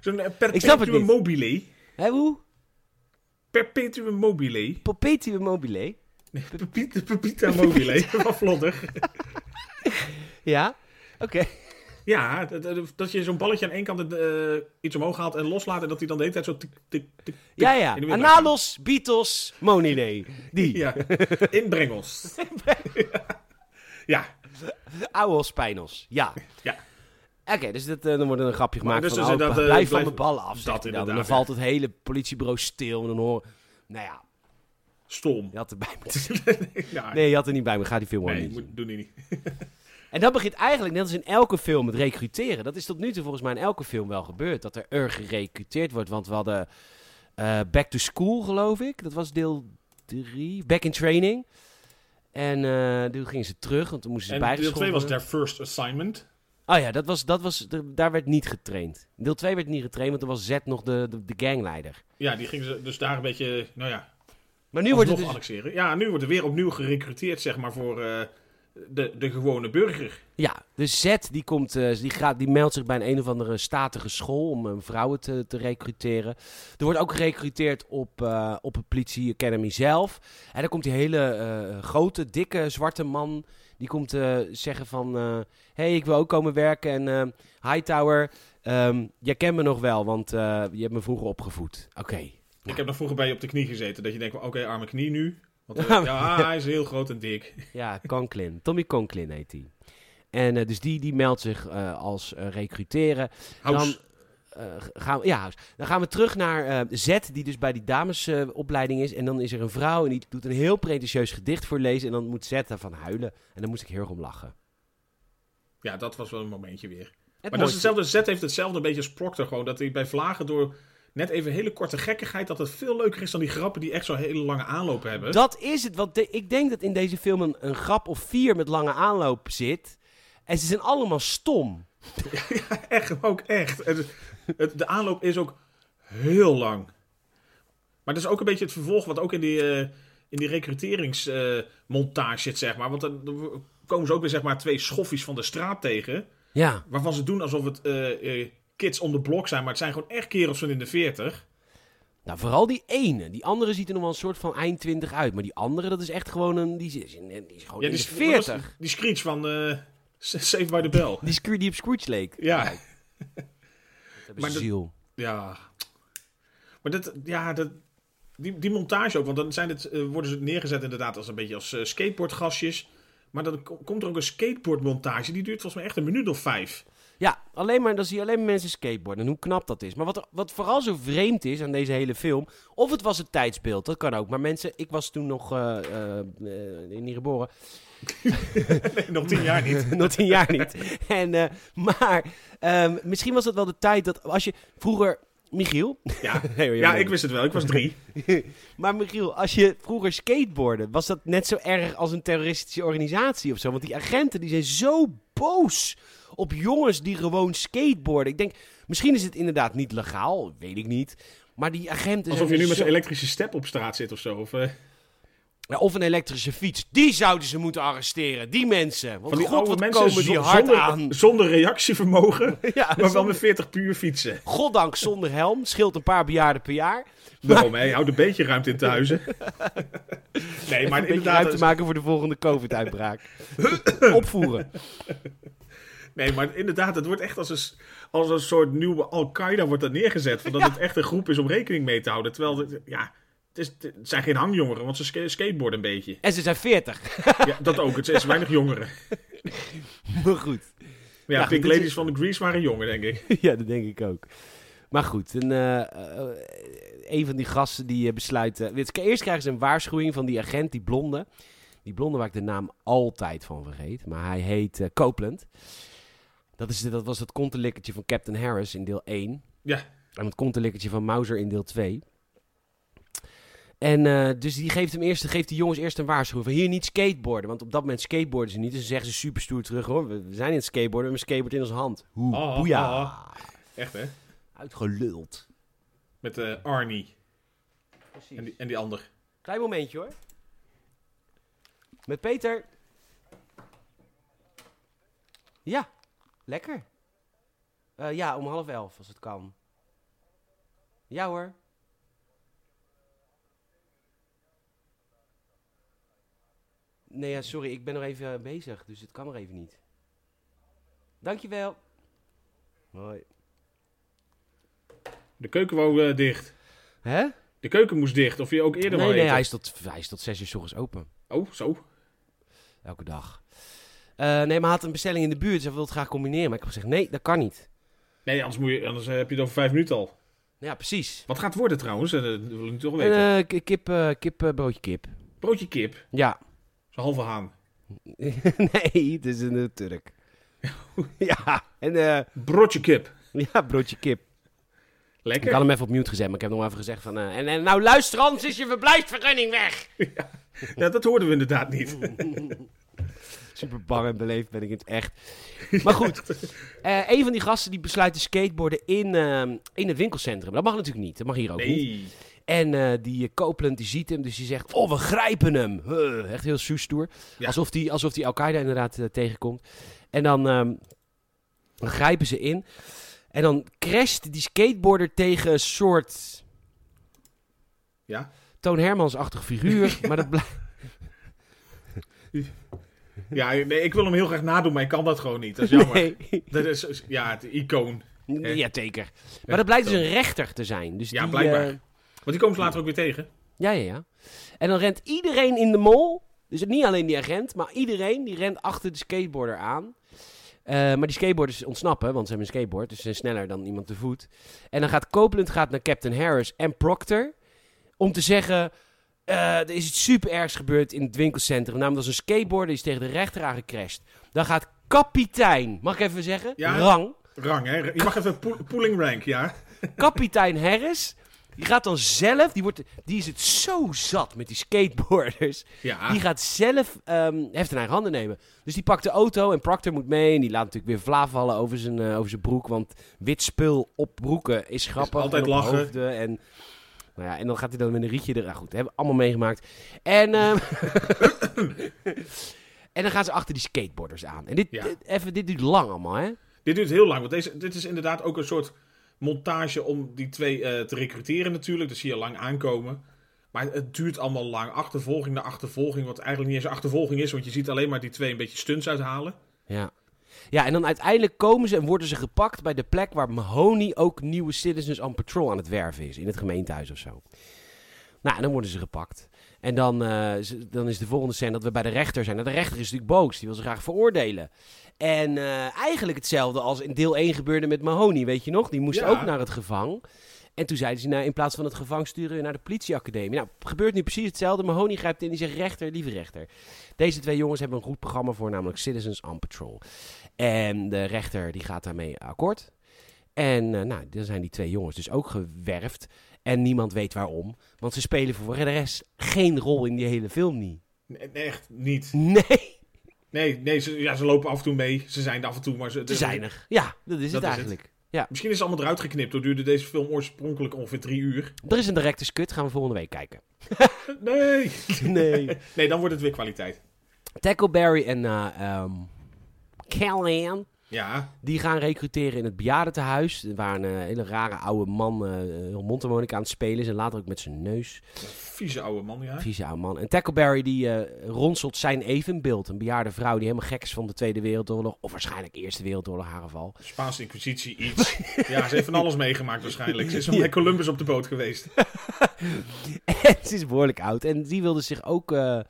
B: Zo'n eh,
A: snap het
B: perpetuum
A: niet.
B: mobile.
A: Hé, hoe?
B: Perpetuum mobile.
A: Perpetuum mobile.
B: Pepita, pepita mobile. Wat vlodder.
A: Ja? Oké.
B: Ja, dat, dat- dat je zo'n balletje aan één kant eh, iets omhoog haalt en loslaat en dat hij dan de hele tijd zo tik, tik, tik.
A: Ja, ja.
B: In de middag.
A: Analos, Beatles, Monile. Die.
B: Ja, inbrengels. ja,
A: Oude spijnels, ja.
B: Ja.
A: Oké, dus dat, eh, dan wordt er een grapje gemaakt
B: dus
A: van,
B: dus
A: oh,
B: inderdaad, eh,
A: blijf van
B: blijf-
A: mijn ballen af.
B: dat
A: zegt hij dan. En dan
B: inderdaad,
A: valt het hele politiebureau stil en dan hoor... Nou ja,
B: stom.
A: je had er bij moeten zijn.
B: Ja,
A: Nee, je had er niet bij me. Ga die film maar
B: nee,
A: niet
B: moet, doen die niet.
A: En dat begint eigenlijk, net als in elke film, het recruteren. Dat is tot nu toe volgens mij in elke film wel gebeurd. Dat er er gerecruiteerd wordt. Want we hadden eh, Back to School, geloof ik. Dat was deel 3. Back in Training. En eh, toen gingen ze terug, want toen moesten ze
B: En deel
A: bijgeschoven
B: 2 was
A: worden.
B: their first assignment.
A: Oh ja, dat was, dat was, d- daar werd niet getraind. Deel 2 werd niet getraind, want toen was Z nog de, de, de gangleider.
B: Ja, die gingen ze dus daar een beetje, nou ja,
A: Maar nu
B: nu
A: wordt
B: wordt
A: het dus...
B: annexeren. Ja, nu wordt er weer opnieuw gerecruiteerd, zeg maar, voor eh, de, de gewone burger.
A: Ja, dus Z die, komt, eh, die, gaat, die meldt zich bij een, een of andere statige school om eh, vrouwen te, te recruteren. Er wordt ook gerecruiteerd op, eh, op het politie academy zelf. En dan komt die hele eh, grote, dikke, zwarte man... Die komt eh, zeggen van... eh, hey, ik wil ook komen werken en... eh, Hightower, ehm, jij kent me nog wel, want eh, je hebt me vroeger opgevoed. Oké.
B: Ik heb nog vroeger bij je op de knie gezeten, dat je denkt, van, oké, arme knie nu. Want eh,
A: Ja,
B: ja,
A: maar-
B: hij is heel groot en dik.
A: Ja, Conklin. Tommy Conklin heet die. En eh, dus die, die meldt zich eh, als eh, recruteren.
B: House.
A: Dan, eh, gaan we, ja, House. dan gaan we terug naar eh, Z, die dus bij die damesopleiding is. En dan is er een vrouw en die doet een heel pretentieus gedicht voorlezen. En dan moet Z daarvan huilen. En dan moest ik heel erg om lachen.
B: Ja, dat was wel een momentje weer.
A: Het
B: maar dat is hetzelfde, Zet heeft hetzelfde een beetje als Proctor gewoon. Dat hij bij Vlagen door net even hele korte gekkigheid, dat het veel leuker is dan die grappen die echt zo'n hele lange aanloop hebben.
A: Dat is het, want de- ik denk dat in deze film een, een grap of vier met lange aanloop zit. En ze zijn allemaal stom.
B: Echt, maar ook echt. Het, het- de aanloop is ook heel lang. Maar dat is ook een beetje het vervolg wat ook in die, eh, in die recruteringsmontage eh, zit, zeg maar. Want dan dan komen ze ook weer, zeg maar, twee schoffies van de straat tegen.
A: Ja.
B: Waarvan ze doen alsof het eh, eh, kids on the block zijn. Maar het zijn gewoon echt kerels van in de 40.
A: Nou, vooral die ene. Die andere ziet er nog wel een soort van eind 20 uit. Maar die andere, dat is echt gewoon een. Die is, die is gewoon Oh, in
B: die,
A: de
B: s- wat was
A: 40.
B: Die, die screech van eh, Save by the Bell.
A: Die Scree die op Scrooge leek.
B: Ja.
A: Dat hebben
B: Maar
A: ze
B: dat-
A: ziel.
B: Ja. Maar dat, ja, dat, Die, die montage ook, want dan zijn het, eh, worden ze neergezet inderdaad als een beetje als eh, skateboardgastjes. Maar dan ko- komt er ook een skateboardmontage. Die duurt volgens mij echt een minuut of vijf.
A: Ja, alleen maar, dan zie je alleen maar mensen skateboarden en hoe knap dat is. Maar wat, er- wat vooral zo vreemd is aan deze hele film, of het was het tijdsbeeld, dat kan ook. Maar mensen, ik was toen nog eh, eh, eh, niet geboren,
B: Nee, nog tien jaar niet.
A: nog tien jaar niet. En, eh, maar ehm, misschien was het wel de tijd dat als je vroeger, Michiel,
B: Ja,
A: Nee, Dus hoor,
B: ja
A: jij
B: ik wist het wel. Ik was drie.
A: maar Michiel, als je vroeger skateboarde, was dat net zo erg als een terroristische organisatie of zo? Want die agenten die zijn zo boos op jongens die gewoon skateboarden. Ik denk, misschien is het inderdaad niet legaal, weet ik niet. Maar die agenten zijn
B: Alsof je
A: dus
B: nu met
A: zo-
B: zo'n elektrische step op straat zit of zo. Of, eh,
A: Ja, Of een elektrische fiets. Die zouden ze moeten arresteren, die mensen. Want
B: van die
A: god,
B: oude
A: wat
B: mensen
A: komen die
B: zon-
A: hard
B: zonder,
A: aan.
B: zonder reactievermogen.
A: Ja,
B: Maar wel
A: zonder-
B: met 40 puur fietsen.
A: Goddank zonder helm. Scheelt een paar bejaarden per jaar.
B: Waarom, hè? Je houdt een beetje ruimte in te huizen. Nee, maar
A: een beetje
B: inderdaad. dus-
A: ruimte maken voor de volgende COVID-uitbraak. Opvoeren.
B: Nee, maar inderdaad, het wordt echt als een, s- als een soort nieuwe Al-Qaeda wordt dat neergezet. Van dat het echt een groep is om rekening mee te houden. Terwijl, het- ja, het, is, het zijn geen hangjongeren, want ze ska- skateboarden een beetje.
A: En ze zijn 40.
B: Ja, dat ook, het is weinig jongeren.
A: Maar goed.
B: Maar ja,
A: Ja,
B: Pink
A: dit is-
B: Ladies van de Grease waren jonger, denk ik.
A: ja, dat denk ik ook. Maar goed, een, eh, eh, een van die gasten die eh, besluiten... Weet je, Eerst krijgen ze een waarschuwing van die agent, die blonde. Die blonde waar ik de naam altijd van vergeet. Maar hij heet eh, Copeland. Dat, is, dat was het kontelikkertje van Captain Harris in deel 1.
B: Ja.
A: En het kontelikkertje van Mauser in deel 2. En eh, dus die geeft, hem eerst, geeft die jongens eerst een waarschuwing van hier niet skateboarden. Want op dat moment skateboarden ze niet. Dus ze zeggen ze super stoer terug hoor. We we zijn in het skateboarden, we hebben een skateboard in onze hand. Hoe,
B: Ah,
A: boeia.
B: ah. Echt, hè?
A: Uitgeluld.
B: Met eh, Arnie
A: Precies.
B: en die, en die ander.
A: Klein momentje hoor. Met Peter. Ja, lekker. Eh, ja, om half elf als het kan. Ja hoor. Nee, ja, sorry, ik ben nog even eh, bezig, dus het kan nog even niet. Dankjewel. Hoi.
B: De keuken wou eh, dicht.
A: Hè?
B: De keuken moest dicht, of je ook eerder
A: Nee,
B: wou
A: nee,
B: eten.
A: hij is, tot, hij is tot zes uur s ochtends open.
B: Oh, zo.
A: Elke dag. Eh, nee, maar hij had een bestelling in de buurt. Dus hij wilde het graag combineren. Maar ik heb gezegd, nee, dat kan niet.
B: Nee, anders, moet je, anders eh, heb je het over vijf minuten al.
A: Nou Ja, precies.
B: Wat gaat het worden trouwens? Eh, Dat wil ik toch
A: Een
B: weten.
A: eh, k- kip, eh, kip eh, broodje kip.
B: Broodje kip,
A: Ja.
B: zo'n halve haan.
A: nee, het is een eh, Turk. ja, en, eh,
B: Broodje kip.
A: ja, broodje kip. Ik
B: Lekker.
A: had hem even op mute gezet, maar ik heb nog maar even gezegd van... eh, en, en nou luister, anders is je verblijfsvergunning weg.
B: Ja, dat hoorden we inderdaad niet.
A: Oh, Super bang en beleefd ben ik in het echt. Maar goed, eh, een van die gasten die besluit te skateboarden in, ehm, in het winkelcentrum. Dat mag natuurlijk niet, dat mag hier ook niet.
B: Nee.
A: En eh, die eh, Copeland die ziet hem, dus die zegt: Oh, we grijpen hem. Huh, echt heel stoer.
B: Ja.
A: Alsof die, alsof die Al-Qaeda inderdaad eh, tegenkomt. En dan, ehm, dan grijpen ze in. En dan crasht die skateboarder tegen een soort
B: Ja.
A: Toon Hermans-achtig figuur. Maar dat blijft.
B: Ja, nee, ik wil hem heel graag nadoen, maar ik kan dat gewoon niet. Dat is jammer.
A: Nee.
B: Dat is, ja, het icoon. Eh.
A: Ja, zeker. Maar dat blijkt dus een rechter te zijn. Dus
B: Ja,
A: die,
B: blijkbaar.
A: eh,
B: Want die komen ze later ook weer tegen.
A: ja, ja, ja. En dan rent iedereen in de mol. Dus niet alleen die agent, maar iedereen die rent achter de skateboarder aan. Eh, maar die skateboarders ontsnappen, want ze hebben een skateboard. Dus ze zijn sneller dan iemand te voet. En dan gaat Copeland gaat naar Captain Harris en Proctor. Om te zeggen, eh, er is iets super ergs gebeurd in het winkelcentrum. Namelijk als een skateboarder is tegen de rechter aangecrashed. Dan gaat kapitein, mag ik even zeggen,
B: Ja.
A: rang.
B: Rang, hè? Je mag even pool- pooling rank, ja.
A: kapitein Harris. Die gaat dan zelf, die, wordt, die is het zo zat met die skateboarders.
B: Ja.
A: Die gaat zelf ehm heft in eigen handen nemen. Dus die pakt de auto en Proctor moet mee. En die laat natuurlijk weer vla vallen over zijn, eh, over zijn broek. Want wit spul op broeken is grappig.
B: altijd
A: en op
B: lachen.
A: hoofden en, nou ja, en dan gaat hij dan met een rietje er. ah, goed, hebben we allemaal meegemaakt. En, ehm, en dan gaan ze achter die skateboarders aan. En dit,
B: Ja.
A: dit- even, dit duurt lang allemaal, hè?
B: Dit duurt heel lang, want deze, dit is inderdaad ook een soort montage om die twee eh, te recruteren natuurlijk. Dat zie je lang aankomen. Maar het duurt allemaal lang. Achtervolging na achtervolging, wat eigenlijk niet eens een achtervolging is. Want je ziet alleen maar die twee een beetje stunts uithalen.
A: Ja. Ja, en dan uiteindelijk komen ze en worden ze gepakt bij de plek waar Mahoney ook nieuwe Citizens on Patrol aan het werven is. In het gemeentehuis of zo. Nou, en dan worden ze gepakt. En dan, eh, ze- dan is de volgende scène dat we bij de rechter zijn. Nou, de rechter is natuurlijk boos. Die wil ze graag veroordelen. En eh, eigenlijk hetzelfde als in deel 1 gebeurde met Mahoney, weet je nog? Die moest
B: Ja.
A: ook naar het gevang. En toen zeiden ze, nou, in plaats van het gevang sturen we naar de politieacademie. Nou, gebeurt nu precies hetzelfde. Mahoney grijpt in die zegt, rechter, lieve rechter. Deze twee jongens hebben een goed programma voor, namelijk Citizens on Patrol. En de rechter, die gaat daarmee akkoord. En eh, nou, dan zijn die twee jongens dus ook gewerfd. En niemand weet waarom. Want ze spelen voor de rest geen rol in die hele film niet.
B: Nee, nee, echt niet.
A: Nee,
B: Nee, nee ze, ja, ze lopen af en toe mee. Ze zijn er af en toe, maar ze,
A: ze zijn er. Ja, dat is
B: Dat
A: het
B: is
A: eigenlijk.
B: Misschien is het allemaal eruit geknipt. Hoe duurde deze film oorspronkelijk ongeveer drie uur?
A: Er is een director's cut, gaan we volgende week kijken.
B: Nee.
A: Nee.
B: Nee, dan wordt het weer kwaliteit.
A: Tackleberry en eh ehm, Callahan,
B: Ja,
A: die gaan recruteren in het bejaardentehuis. Waar een eh, hele rare oude man eh heel mondharmonica aan het spelen is. En later ook met zijn neus.
B: vieze oude man, ja.
A: Vieze oude man. En Tackleberry die eh, ronselt zijn evenbeeld. Een bejaarde vrouw die helemaal gek is van de Tweede Wereldoorlog. Of waarschijnlijk Eerste Wereldoorlog, haar geval.
B: Spaanse Inquisitie, iets. Ja, ze heeft van alles meegemaakt waarschijnlijk. Ze is al bij Columbus op de boot geweest.
A: En ze is behoorlijk oud. En die wilde zich ook eh,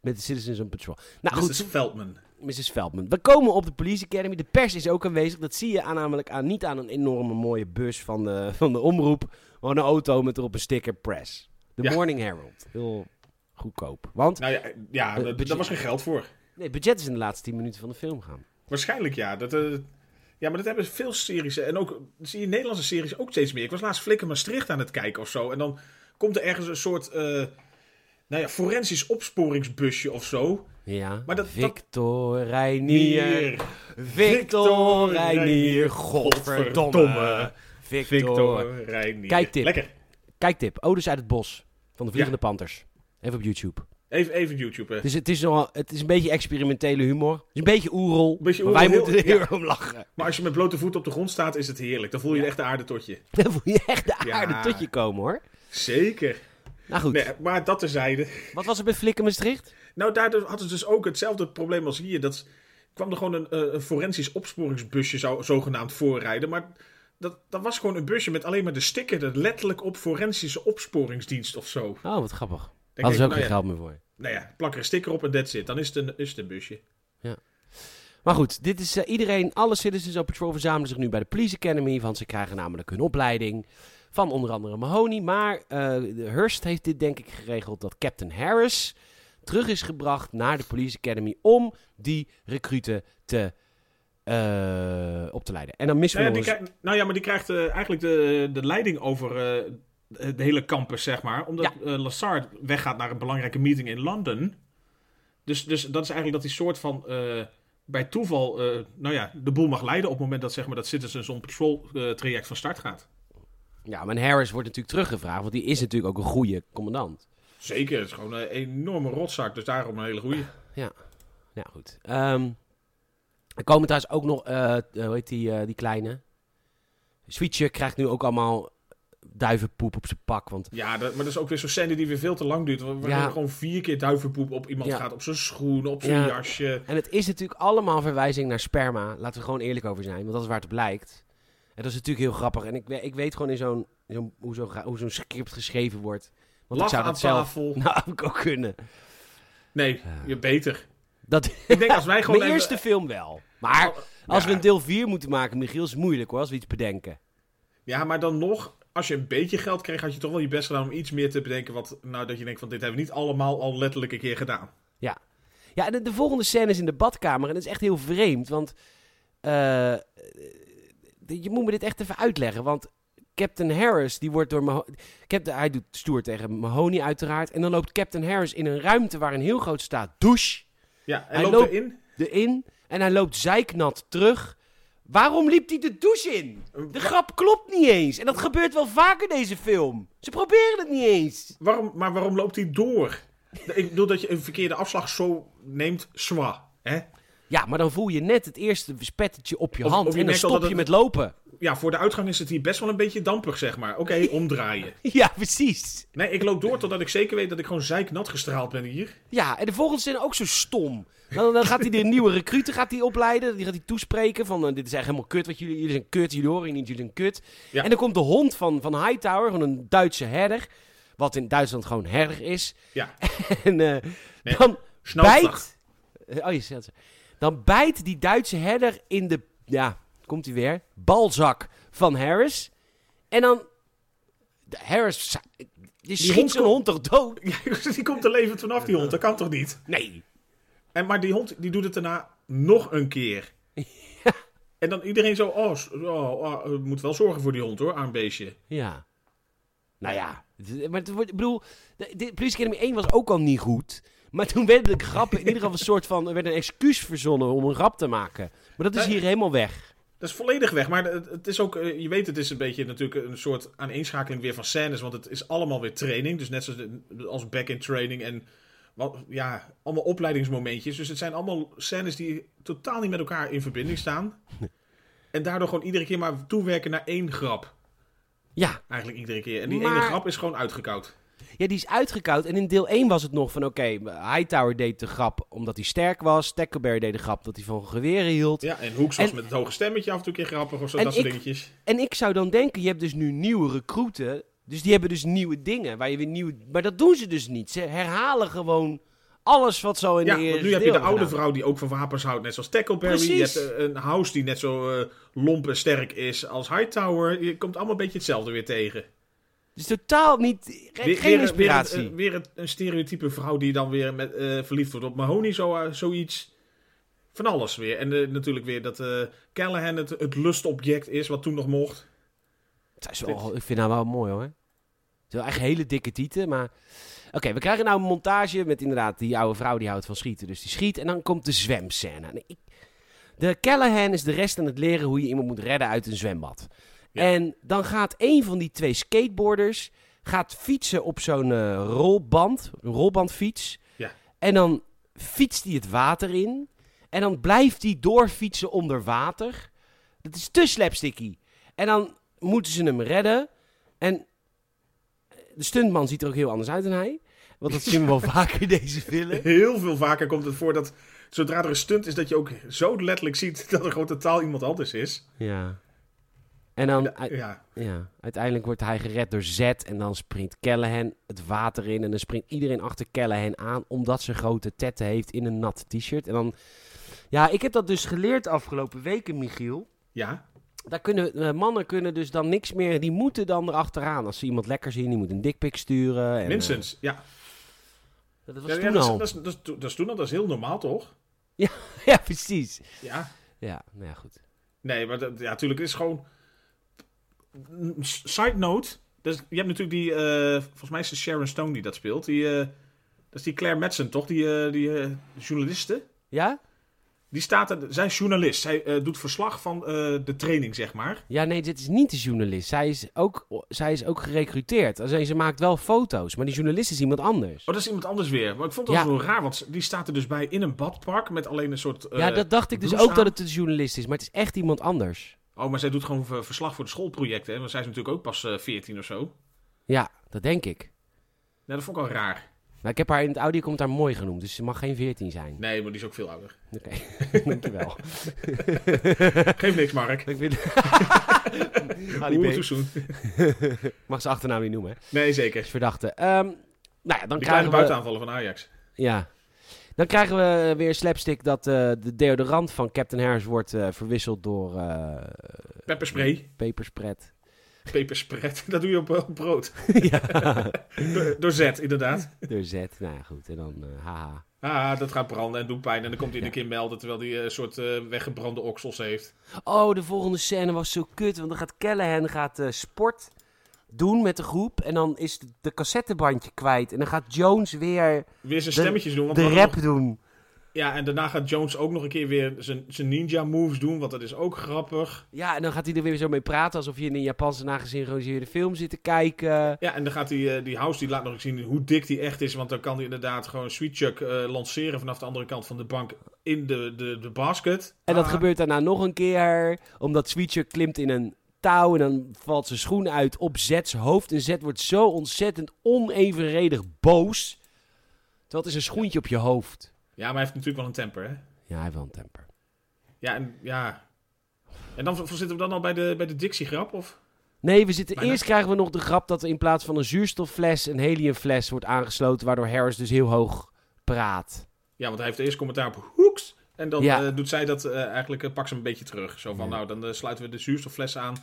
A: met de Citizens on Patrol. Nou
B: Dit
A: goed,
B: is Veldman.
A: Mrs. Veldman. We komen op de Police Academy. De pers is ook aanwezig. Dat zie je aan, namelijk aan, niet aan een enorme mooie bus van de, van de omroep. Maar een auto met erop een sticker press. De
B: Ja.
A: Morning Herald. Heel goedkoop. Want
B: Nou ja, ja
A: Eh,
B: dat-
A: budget-
B: daar was geen geld voor.
A: nee, het budget is in de laatste 10 minuten van de film gaan.
B: Waarschijnlijk ja. Dat, eh, ja, maar dat hebben veel series. eh, En ook eh, zie je Nederlandse series ook steeds meer. Ik was laatst Flikker Maastricht aan het kijken of zo. En dan komt er ergens een soort. eh, nou ja, forensisch opsporingsbusje of zo.
A: Ja,
B: Maar dat- dat-
A: Victor Reinier.
B: Hier.
A: Victor Reinier.
B: Reinier.
A: Godverdomme.
B: Godverdomme.
A: Victor.
B: Victor Reinier.
A: Kijktip.
B: Lekker.
A: Kijktip. Odes uit het bos. Van de Vliegende Panthers. Even op YouTube.
B: Even, even YouTube. eh.
A: Dus het is, nogal, het is een beetje experimentele humor. Het is een beetje oerol.
B: Beetje
A: maar wij
B: oerol,
A: moeten er
B: heel-
A: heel erg om lachen.
B: Maar als je met blote voeten op de grond staat, is het heerlijk. Dan voel je echt de aarde tot je.
A: Dan voel je echt de
B: Ja.
A: aarde tot je komen hoor.
B: Zeker.
A: Nou goed,
B: Nee, maar dat terzijde.
A: wat was het met Flikken Maastricht?
B: Nou, daardoor hadden ze dus ook hetzelfde probleem als hier. Dat kwam er gewoon een, eh, een forensisch opsporingsbusje zou, zogenaamd voorrijden. Maar dat, dat was gewoon een busje met alleen maar de sticker er letterlijk op forensische opsporingsdienst of zo. Dan
A: Oh, wat grappig.
B: denk
A: Hadden
B: ik,
A: ze ook
B: nou
A: geen
B: ja,
A: geld meer voor.
B: Nou ja, plak er een sticker op en that's it. Dan is het een, is het een busje.
A: Maar goed, dit is eh, iedereen, alle citizens op patrol verzamelen zich nu bij de Police Academy. Want ze krijgen namelijk hun opleiding van onder andere Mahoney. Maar eh, de Hearst heeft dit denk ik geregeld dat Captain Harris terug is gebracht naar de Police Academy om die recruten te, eh, op te leiden. En dan missen
B: Nou
A: we nog
B: ja, die
A: eens-
B: krijgt, nou ja, maar die krijgt eh, eigenlijk de, de leiding over eh, de hele campus, zeg maar. Omdat eh Lassard weggaat naar een belangrijke meeting in Londen. Dus, dus dat is eigenlijk dat die soort van eh, bij toeval eh, nou ja, de boel mag leiden op het moment dat, zeg maar, dat Citizens on Patrol eh, traject van start gaat.
A: Ja, maar Harris wordt natuurlijk teruggevraagd, want die is natuurlijk ook een goede commandant.
B: Zeker, het is gewoon een enorme rotzak, dus daarom een hele goeie.
A: Ja, goed. Ehm, er komen trouwens ook nog, eh, eh, hoe heet die, eh, die kleine? Sweetje krijgt nu ook allemaal duivenpoep op zijn pak, want
B: Ja, dat, maar dat is ook weer zo'n scène die weer veel te lang duurt. Waar
A: Ja.
B: er gewoon vier keer duivenpoep op iemand
A: Ja.
B: gaat, op zijn schoenen, op zijn
A: Ja.
B: jasje.
A: En het is natuurlijk allemaal verwijzing naar sperma. Laten we gewoon eerlijk over zijn, want dat is waar het blijkt. En dat is natuurlijk heel grappig. En ik, we- ik weet gewoon in zo'n, in zo'n- hoe zo'n gra- hoe zo'n script geschreven wordt. Want ik
B: Lachen
A: zou
B: aan
A: dat zelf
B: tafel.
A: nou ik ook kunnen.
B: Nee, je beter.
A: Dat,
B: Ik denk als wij gewoon...
A: mijn
B: even-
A: eerste film wel. Maar als we een deel 4 moeten maken, Michiel, is het moeilijk hoor, als we iets bedenken.
B: Ja, maar dan nog, als je een beetje geld kreeg, had je toch wel je best gedaan om iets meer te bedenken. Wat, nou, dat je denkt van dit hebben we niet allemaal al letterlijk een keer gedaan.
A: Ja, en de, de volgende scène is in de badkamer. En dat is echt heel vreemd. Want eh, eh, je moet me dit echt even uitleggen. Want Captain Harris, die wordt door Maho- Captain, hij doet stoer tegen Mahoney uiteraard. En dan loopt Captain Harris in een ruimte waar een heel groot staat douche
B: Ja, en
A: Hij
B: loopt
A: loopt-
B: erin.
A: erin. En hij loopt zeiknat terug. Waarom liep hij de douche in? De grap klopt niet eens. En dat gebeurt wel vaker in deze film. Ze proberen het niet eens.
B: Waarom, maar waarom loopt hij door? Ik bedoel dat je een verkeerde afslag zo neemt, zwa. Hè?
A: Ja, maar dan voel je net het eerste spettetje op je
B: Of-
A: hand.
B: of je
A: en dan
B: merkt al
A: stop
B: dat
A: je met
B: het-
A: lopen.
B: Ja, voor de uitgang is het hier best wel een beetje dampig, zeg maar. Oké, omdraaien.
A: Ja, precies.
B: Nee, ik loop door totdat ik zeker weet dat ik gewoon zeiknat gestraald ben hier.
A: Ja, en de volgende scène ook zo stom. Dan, dan gaat hij de nieuwe recruten gaat hij opleiden. Die gaat hij toespreken van eh, dit is echt helemaal kut. Wat jullie, jullie zijn kut, jullie horen niet, jullie zijn kut.
B: Ja.
A: En dan komt de hond van, van Hightower, gewoon een Duitse herder. Wat in Duitsland gewoon herder is.
B: Ja.
A: en eh,
B: Nee,
A: dan
B: Schnauzdag.
A: bijt... Oh, je zegt ze. Dan bijt die Duitse herder in de... Ja, komt hij weer. Balzak van Harris. En dan... de Harris... Je schiet
B: hond
A: zo'n
B: kon-
A: hond toch dood?
B: Ja, die komt er levend vanaf, die hond. Dat kan toch niet?
A: Nee.
B: En, maar die hond die doet het daarna nog een keer. En dan iedereen zo, oh, s- oh, oh, eh, moet wel zorgen voor die hond hoor, arm beestje.
A: Ja. Nou ja, d- maar het wordt, ik bedoel, de, de Police Academy 1 was ook al niet goed. Maar toen werden de grappen in ieder geval een soort van, er werd een excuus verzonnen om een grap te maken. Maar dat is
B: Nee.
A: hier helemaal weg.
B: Dat is volledig weg, maar het, het is ook, eh, je weet het is een beetje natuurlijk een soort aaneenschakeling weer van scènes, want het is allemaal weer training. Dus net zoals de- als back-in training en wat, ja, allemaal opleidingsmomentjes. Dus het zijn allemaal scènes die totaal niet met elkaar in verbinding staan. En daardoor gewoon iedere keer maar toewerken naar één grap.
A: Ja,
B: Eigenlijk iedere keer. En die
A: Maar-
B: ene grap is gewoon uitgekoud.
A: ja, die is uitgekoud. En in deel 1 was het nog van, oké, Hightower deed de grap omdat hij sterk was. Tackleberry deed de grap dat hij van geweren hield.
B: Ja, en Hoeks was
A: En-
B: met het hoge stemmetje af en toe een keer grappig of zo,
A: En
B: dat soort
A: ik-
B: dingetjes.
A: En ik zou dan denken, je hebt dus nu nieuwe recruiten. Dus die hebben dus nieuwe dingen, waar je weer nieuwe... Maar dat doen ze dus niet. Ze herhalen gewoon alles wat zo in
B: Ja,
A: de eerste
B: want nu heb je
A: deel
B: de
A: hebben
B: oude
A: gedaan.
B: vrouw die ook van wapens houdt, net zoals Tackleberry.
A: Precies.
B: Je hebt eh, een house die net zo eh, lomp en sterk is als Hightower. Je komt allemaal een beetje hetzelfde weer tegen.
A: Dus totaal niet. ge-
B: Weer-
A: geen
B: weer, een- eh,
A: inspiratie.
B: Weer, een, weer een, een stereotype vrouw die dan weer met, eh, verliefd wordt op Mahoney, zo, eh, zoiets. Van alles weer. En eh, natuurlijk weer dat eh Callahan het, het lustobject is, wat toen nog mocht.
A: Het is wel- ik vind haar wel mooi hoor. Het is wel echt hele dikke tieten, maar... Oké, we krijgen nou een montage met inderdaad die oude vrouw die houdt van schieten. Dus die schiet en dan komt de zwemscène. Nee, ik- De Callahan is de rest aan het leren hoe je iemand moet redden uit een zwembad.
B: Ja.
A: En dan gaat een van die twee skateboarders gaat fietsen op zo'n eh, rolband, een rolbandfiets.
B: Ja.
A: En dan fietst hij het water in. En dan blijft hij doorfietsen onder water. Dat is te slapsticky. En dan moeten ze hem redden. En de stuntman ziet er ook heel anders uit dan hij. Want dat zien we wel vaker in deze film.
B: Heel veel vaker komt het voor dat zodra er een stunt is, dat je ook zo letterlijk ziet dat er gewoon totaal iemand anders is.
A: Ja. En dan, ui-
B: Ja.
A: ja, uiteindelijk wordt hij gered door Z. En dan springt Callahan het water in. En dan springt iedereen achter Callahan aan. Omdat ze grote tetten heeft in een nat t-shirt. En dan... Ja, ik heb dat dus geleerd afgelopen weken, Michiel.
B: Ja.
A: Daar kunnen, eh, mannen kunnen dus dan niks meer. Die moeten dan erachteraan. Als ze iemand lekker zien, die moet een dikpik sturen. En, eh,
B: Minstens. Ja.
A: dat
B: Ja,
A: was
B: ja,
A: toen nou?
B: dat, is,
A: al.
B: dat, is, dat, is, dat is toen al, dat is heel normaal toch?
A: Ja, precies.
B: Ja.
A: Ja, nou ja, goed.
B: Nee, maar dat, ja, natuurlijk is gewoon. Side note. Dus je hebt natuurlijk die. eh, volgens mij is het Sharon Stone die dat speelt. Die, eh, dat is die Claire Madsen, toch? Die, eh, die eh, journaliste.
A: Ja?
B: Die staat er. Zij is journalist. Zij eh, doet verslag van eh, de training, zeg maar. Oh,
A: Ja, nee, dit is niet de journalist. Zij is ook, zij is ook gerecruiteerd. Alleen ze maakt wel foto's, maar die journalist is iemand anders.
B: Oh, dat is iemand anders weer. Maar ik vond dat
A: Ja.
B: zo raar, want die staat er dus bij in een badpark met alleen een soort. eh,
A: ja, dat dacht ik dus
B: blouse
A: ook dat
B: aan.
A: het de journalist is, maar het is echt iemand anders.
B: Oh, maar zij doet gewoon ver- verslag voor de schoolprojecten. Hè? Want zij is natuurlijk ook pas eh 14 of zo. Nou,
A: Ja, dat denk ik.
B: dat vond ik al raar.
A: Maar ik heb haar in het audiocommentaar mooi genoemd, dus ze mag geen 14 zijn.
B: Nee, maar die is ook veel ouder.
A: Oké, dankjewel.
B: Geef niks, Mark.
A: ik vind... Ali B.
B: Oeh, too soon.
A: Ah, Mag ze achternaam niet noemen, hè?
B: Nee,
A: Is
B: zeker.
A: verdachte. Ehm, nou ja, dan krijgen
B: Die kleine
A: we...
B: buitenaanvallen van Ajax.
A: Ja. Dan krijgen we weer slapstick dat eh, de deodorant van Captain Harris wordt eh, verwisseld door eh
B: Pepperspray,
A: peperspret.
B: peperspret, dat doe je op, op brood.
A: ja,
B: Door, door zet, inderdaad.
A: door Z. Nou ja, goed. En dan eh, haha.
B: Ah, dat gaat branden en doet pijn. En dan komt hij een keer melden terwijl hij eh, een soort eh, weggebrande oksels heeft.
A: Oh, de volgende scène was zo kut. Want dan gaat Callahan gaat, eh, sport doen met de groep. En dan is de, de cassettebandje kwijt. En dan gaat Jones weer
B: Weer zijn
A: De-
B: stemmetjes doen. Want
A: de
B: we hadden
A: rap doen.
B: nog- ja, en daarna gaat Jones ook nog een keer weer zijn, zijn ninja moves doen, want dat is ook grappig.
A: Ja, en dan gaat hij er weer zo mee praten. Alsof je in een Japanse nagesynchroniseerde film zit te kijken.
B: Ja, en dan gaat die, eh, die House, die laat nog eens zien hoe dik die echt is. Want dan kan hij inderdaad gewoon Sweet Chuck eh, lanceren vanaf de andere kant van de bank in de, de, de basket.
A: En dat
B: Ah.
A: gebeurt daarna nog een keer. Omdat Switcher klimt in een touw en dan valt zijn schoen uit op Zets hoofd. En Zet wordt zo ontzettend onevenredig boos. Terwijl het is een schoentje op je hoofd.
B: Ja, maar hij heeft natuurlijk wel een temper, hè?
A: Ja, hij heeft wel een temper.
B: Ja, en, ja. En dan v- zitten we dan al bij de, bij de Dixie-grap, of?
A: Nee, we zitten,
B: Maar
A: eerst krijgen we nog de grap dat er in plaats van een zuurstoffles een heliumfles wordt aangesloten. Waardoor Harris dus heel hoog praat.
B: Ja, want hij heeft eerst commentaar op hoeks. En dan
A: Ja.
B: eh, doet zij dat eh, eigenlijk, eh, pak ze hem een beetje terug. Zo van,
A: Ja.
B: nou, dan eh, sluiten we de zuurstoffles aan.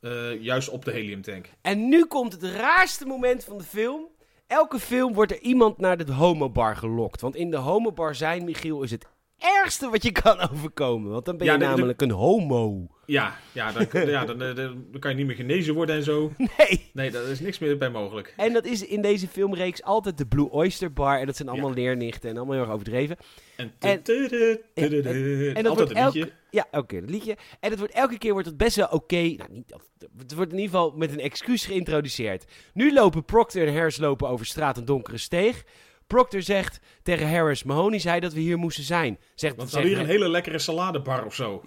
B: eh, juist op de heliumtank.
A: En nu komt het raarste moment van de film. Elke film wordt er iemand naar de homobar gelokt. Want in de homobar zijn, Michiel, is het ergste wat je kan overkomen. Want dan ben je
B: Ja, de- de-
A: namelijk een homo.
B: Ja, ja, dan, ja dan, eh, dan dan kan je niet meer genezen worden en zo.
A: Nee.
B: Nee, daar is niks meer bij mogelijk.
A: En dat is in deze filmreeks altijd de Blue Oyster Bar. En dat zijn allemaal
B: Ja.
A: leernichten en allemaal heel erg overdreven.
B: En,
A: En-
B: tudu, tudu,
A: En dat
B: altijd
A: wordt
B: een liedje.
A: elke, ja, oké, dat liedje. En dat wordt elke keer wordt het best wel oké. nou, niet, dat- het wordt in ieder geval met een excuus geïntroduceerd. Nu lopen Proctor en Harris lopen over straat en donkere steeg. Proctor zegt tegen Harris, Mahoney zei dat we hier moesten zijn. Zegt,
B: Want we
A: zegt
B: hadden hier een hele lekkere saladebar of zo.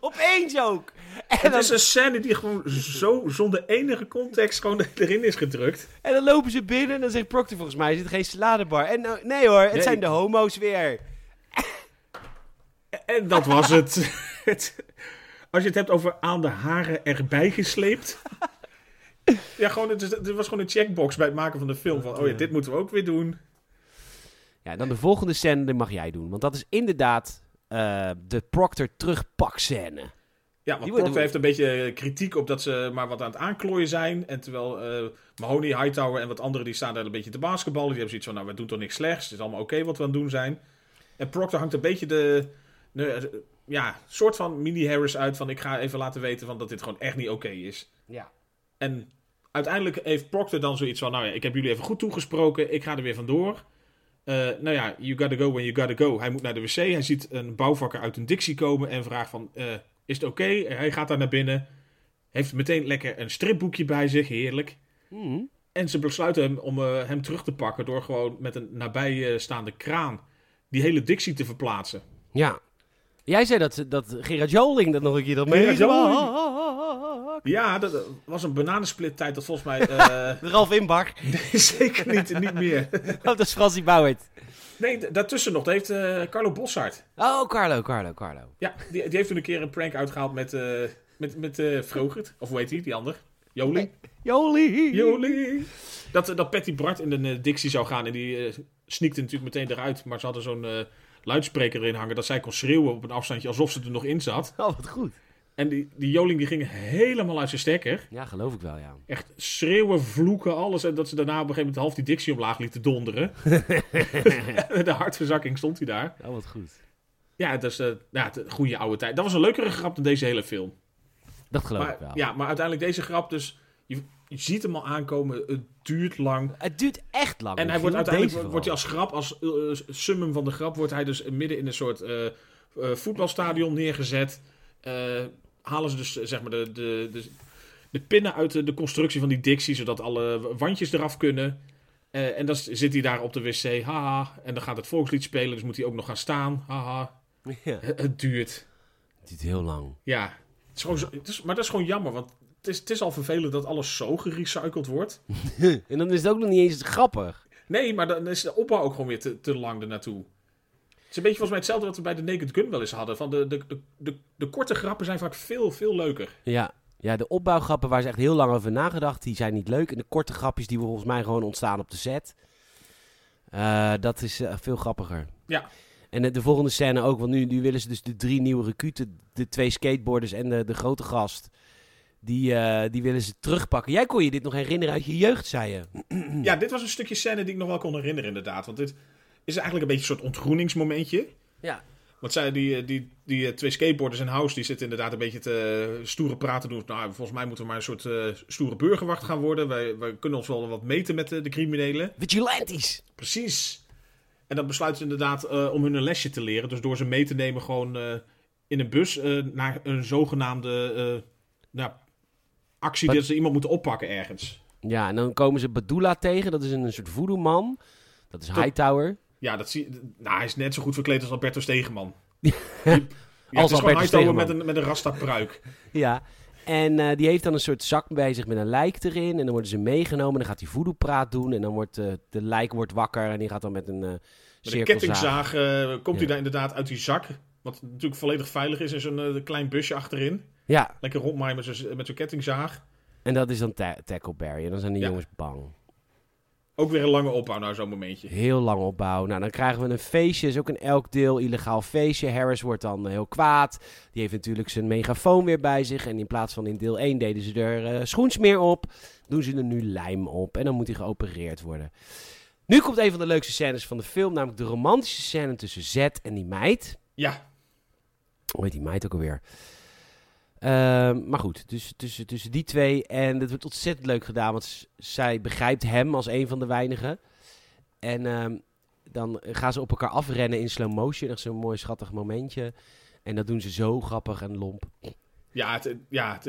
A: Opeens ook! En
B: Het
A: dan,
B: is een scène die gewoon zo zonder enige context gewoon erin is gedrukt.
A: en dan lopen ze binnen en dan zegt Proctor volgens mij, er zit geen saladebar. En nou, nee hoor, het
B: Nee.
A: zijn de homo's weer.
B: En dat was het. Het- Als je het hebt over aan de haren erbij gesleept. Ja, gewoon, het, is- het was gewoon een checkbox bij het maken van de film. Van, oh ja, dit moeten we ook weer doen.
A: Ja, dan de volgende scène, die mag jij doen. Want dat is inderdaad eh, de Proctor terugpakscène.
B: Ja, want
A: Die wordt-
B: Proctor heeft een beetje eh, kritiek op dat ze maar wat aan het aanklooien zijn. En terwijl eh, Mahoney, Hightower en wat anderen die staan daar een beetje te basketballen. Die hebben zoiets van, nou, we doen toch niks slechts. Het is allemaal oké wat we aan het doen zijn. En Proctor hangt een beetje de... de- eh, ja, soort van mini-Harris uit van... ik ga even laten weten van dat dit gewoon echt niet oké is.
A: Ja.
B: En uiteindelijk heeft Proctor dan zoiets van... nou ja, ik heb jullie even goed toegesproken. Ik ga er weer vandoor. Eh, nou ja, you gotta go when you gotta go. Hij moet naar de wc. Hij ziet een bouwvakker uit een dictie komen en vraagt van... eh, is het oké? Hij gaat daar naar binnen. Heeft meteen lekker een stripboekje bij zich. Heerlijk.
A: Mhm.
B: En ze besluiten hem om eh, hem terug te pakken... door gewoon met een nabijstaande kraan... die hele dictie te verplaatsen.
A: Ja. Jij zei dat, dat Gerard Joling dat nog een keer dat mee
B: Gerard Ja, dat eh, was een bananensplittijd dat volgens mij... eh,
A: Ralf Inbach.
B: zeker niet, niet meer.
A: Oh, dat is Fransie Bouwert.
B: Nee, d- daartussen nog. Dat heeft eh, Carlo Bossard.
A: Oh, Carlo, Carlo, Carlo.
B: Ja, die, die heeft toen een keer een prank uitgehaald met... eh met, met eh, Vrogert. Of hoe heet die, die ander? Joling.
A: Joling.
B: Jolie. Dat, eh, dat Patty Bart in een eh, dictie zou gaan. En die eh, sneakte natuurlijk meteen eruit. Maar ze hadden zo'n eh, luidspreker erin hangen. Dat zij kon schreeuwen op een afstandje alsof ze er nog in zat.
A: Oh, wat goed.
B: En die, die Joling die ging helemaal uit zijn stekker.
A: Ja, geloof ik wel, ja.
B: Echt schreeuwen, vloeken, alles. En dat ze daarna op een gegeven moment half die dictie omlaag lieten donderen. Met de hartverzakking stond hij daar.
A: Oh, wat goed.
B: Ja, dat is eh ja, de goede oude tijd. Dat was een leukere grap dan deze hele film.
A: Dat geloof
B: Maar,
A: ik wel.
B: ja, maar uiteindelijk deze grap dus... Je, je ziet hem al aankomen. Het duurt lang.
A: Het duurt echt lang.
B: En hij
A: Michiel,
B: wordt uiteindelijk
A: deze
B: wordt, wordt hij als grap, als eh, summum van de grap, wordt hij dus midden in een soort eh, eh, voetbalstadion neergezet. Eh, halen ze dus eh, zeg maar de, de, de, de pinnen uit de, de constructie van die dictie, zodat alle wandjes eraf kunnen. Eh, en dan s- zit hij daar op de wc, haha. En dan gaat het volkslied spelen, dus moet hij ook nog gaan staan, haha.
A: vooral. Ja,
B: Het, het duurt.
A: het duurt heel lang.
B: Ja, het is gewoon zo- het is, maar dat is gewoon jammer, want het is, het is al vervelend dat alles zo gerecycled wordt.
A: en dan is het ook nog niet eens grappig.
B: Nee, maar dan is de opbouw ook gewoon weer te, te lang ernaartoe. Het is een beetje volgens mij hetzelfde wat we bij de Naked Gun wel eens hadden. Van de, de, de, de, de korte grappen zijn vaak veel, veel leuker.
A: Ja. Ja, de opbouwgrappen waar ze echt heel lang over nagedacht, die zijn niet leuk. En de korte grapjes die volgens mij gewoon ontstaan op de set, eh, dat is eh, veel grappiger.
B: Ja.
A: En eh, de volgende scène ook, want nu, nu willen ze dus de drie nieuwe recruten, de twee skateboarders en de, de grote gast, die, eh, die willen ze terugpakken. Jij kon je dit nog herinneren uit je jeugd, zei je.
B: Ja, dit was een stukje scène die ik nog wel kon herinneren inderdaad. Want dit is eigenlijk een beetje een soort ontgroeningsmomentje.
A: Ja.
B: Want zij, die, eh, die, die eh, twee skateboarders in house, die zitten inderdaad een beetje te eh, stoere praten doen. Nou, volgens mij moeten we maar een soort eh, stoere burgerwacht gaan worden. Wij, wij kunnen ons wel wat meten met eh, de criminelen.
A: Vigilantes!
B: Precies. En dat besluiten ze inderdaad eh, om hun een lesje te leren. Dus door ze mee te nemen gewoon eh, in een bus eh, naar een zogenaamde eh, nou, actie
A: Wat-
B: dat ze iemand moeten oppakken ergens.
A: Ja, en dan komen ze Badula tegen, dat is een, een soort voodoo-man. Dat is Hightower.
B: Ja, dat zie Nou, hij is net zo goed verkleed als Alberto Stegeman. Ja,
A: Als
B: het is gewoon
A: Alberto
B: Hightower
A: Stegeman.
B: met een, met een rasta-pruik.
A: Ja. En eh, die heeft dan een soort zak bij zich met een lijk erin. En dan worden ze meegenomen. En dan gaat hij voodoo-praat doen. En dan wordt eh, de lijk wordt wakker. En die gaat dan met een eh
B: Met een
A: cirkelzaag.
B: kettingzaag eh, komt
A: Ja.
B: hij daar inderdaad uit die zak. Wat natuurlijk volledig veilig is in zo'n eh, klein busje achterin.
A: Ja,
B: Lekker rondmaaien met zo'n met zo'n kettingzaag.
A: en dat is dan ta- Tackleberry. En dan zijn die
B: Ja.
A: jongens bang.
B: Ook weer een lange opbouw nou zo'n momentje.
A: Heel lang opbouw. Nou, dan krijgen we een feestje. Is ook een elk deel illegaal feestje. Harris wordt dan eh, heel kwaad. Die heeft natuurlijk zijn megafoon weer bij zich. En in plaats van in deel 1 deden ze er eh, schoensmeer op. Doen ze er nu lijm op. En dan moet hij geopereerd worden. Nu komt een van de leukste scènes van de film. Namelijk de romantische scène tussen Zed en die meid.
B: Ja,
A: Hoe heet die meid ook alweer? Ehm, maar goed, tussen, tussen, tussen die twee. En dat wordt ontzettend leuk gedaan, want s- zij begrijpt hem als een van de weinigen. En ehm, dan gaan ze op elkaar afrennen in slow motion. Echt zo'n mooi schattig momentje. En dat doen ze zo grappig en lomp.
B: ja, het, ja het,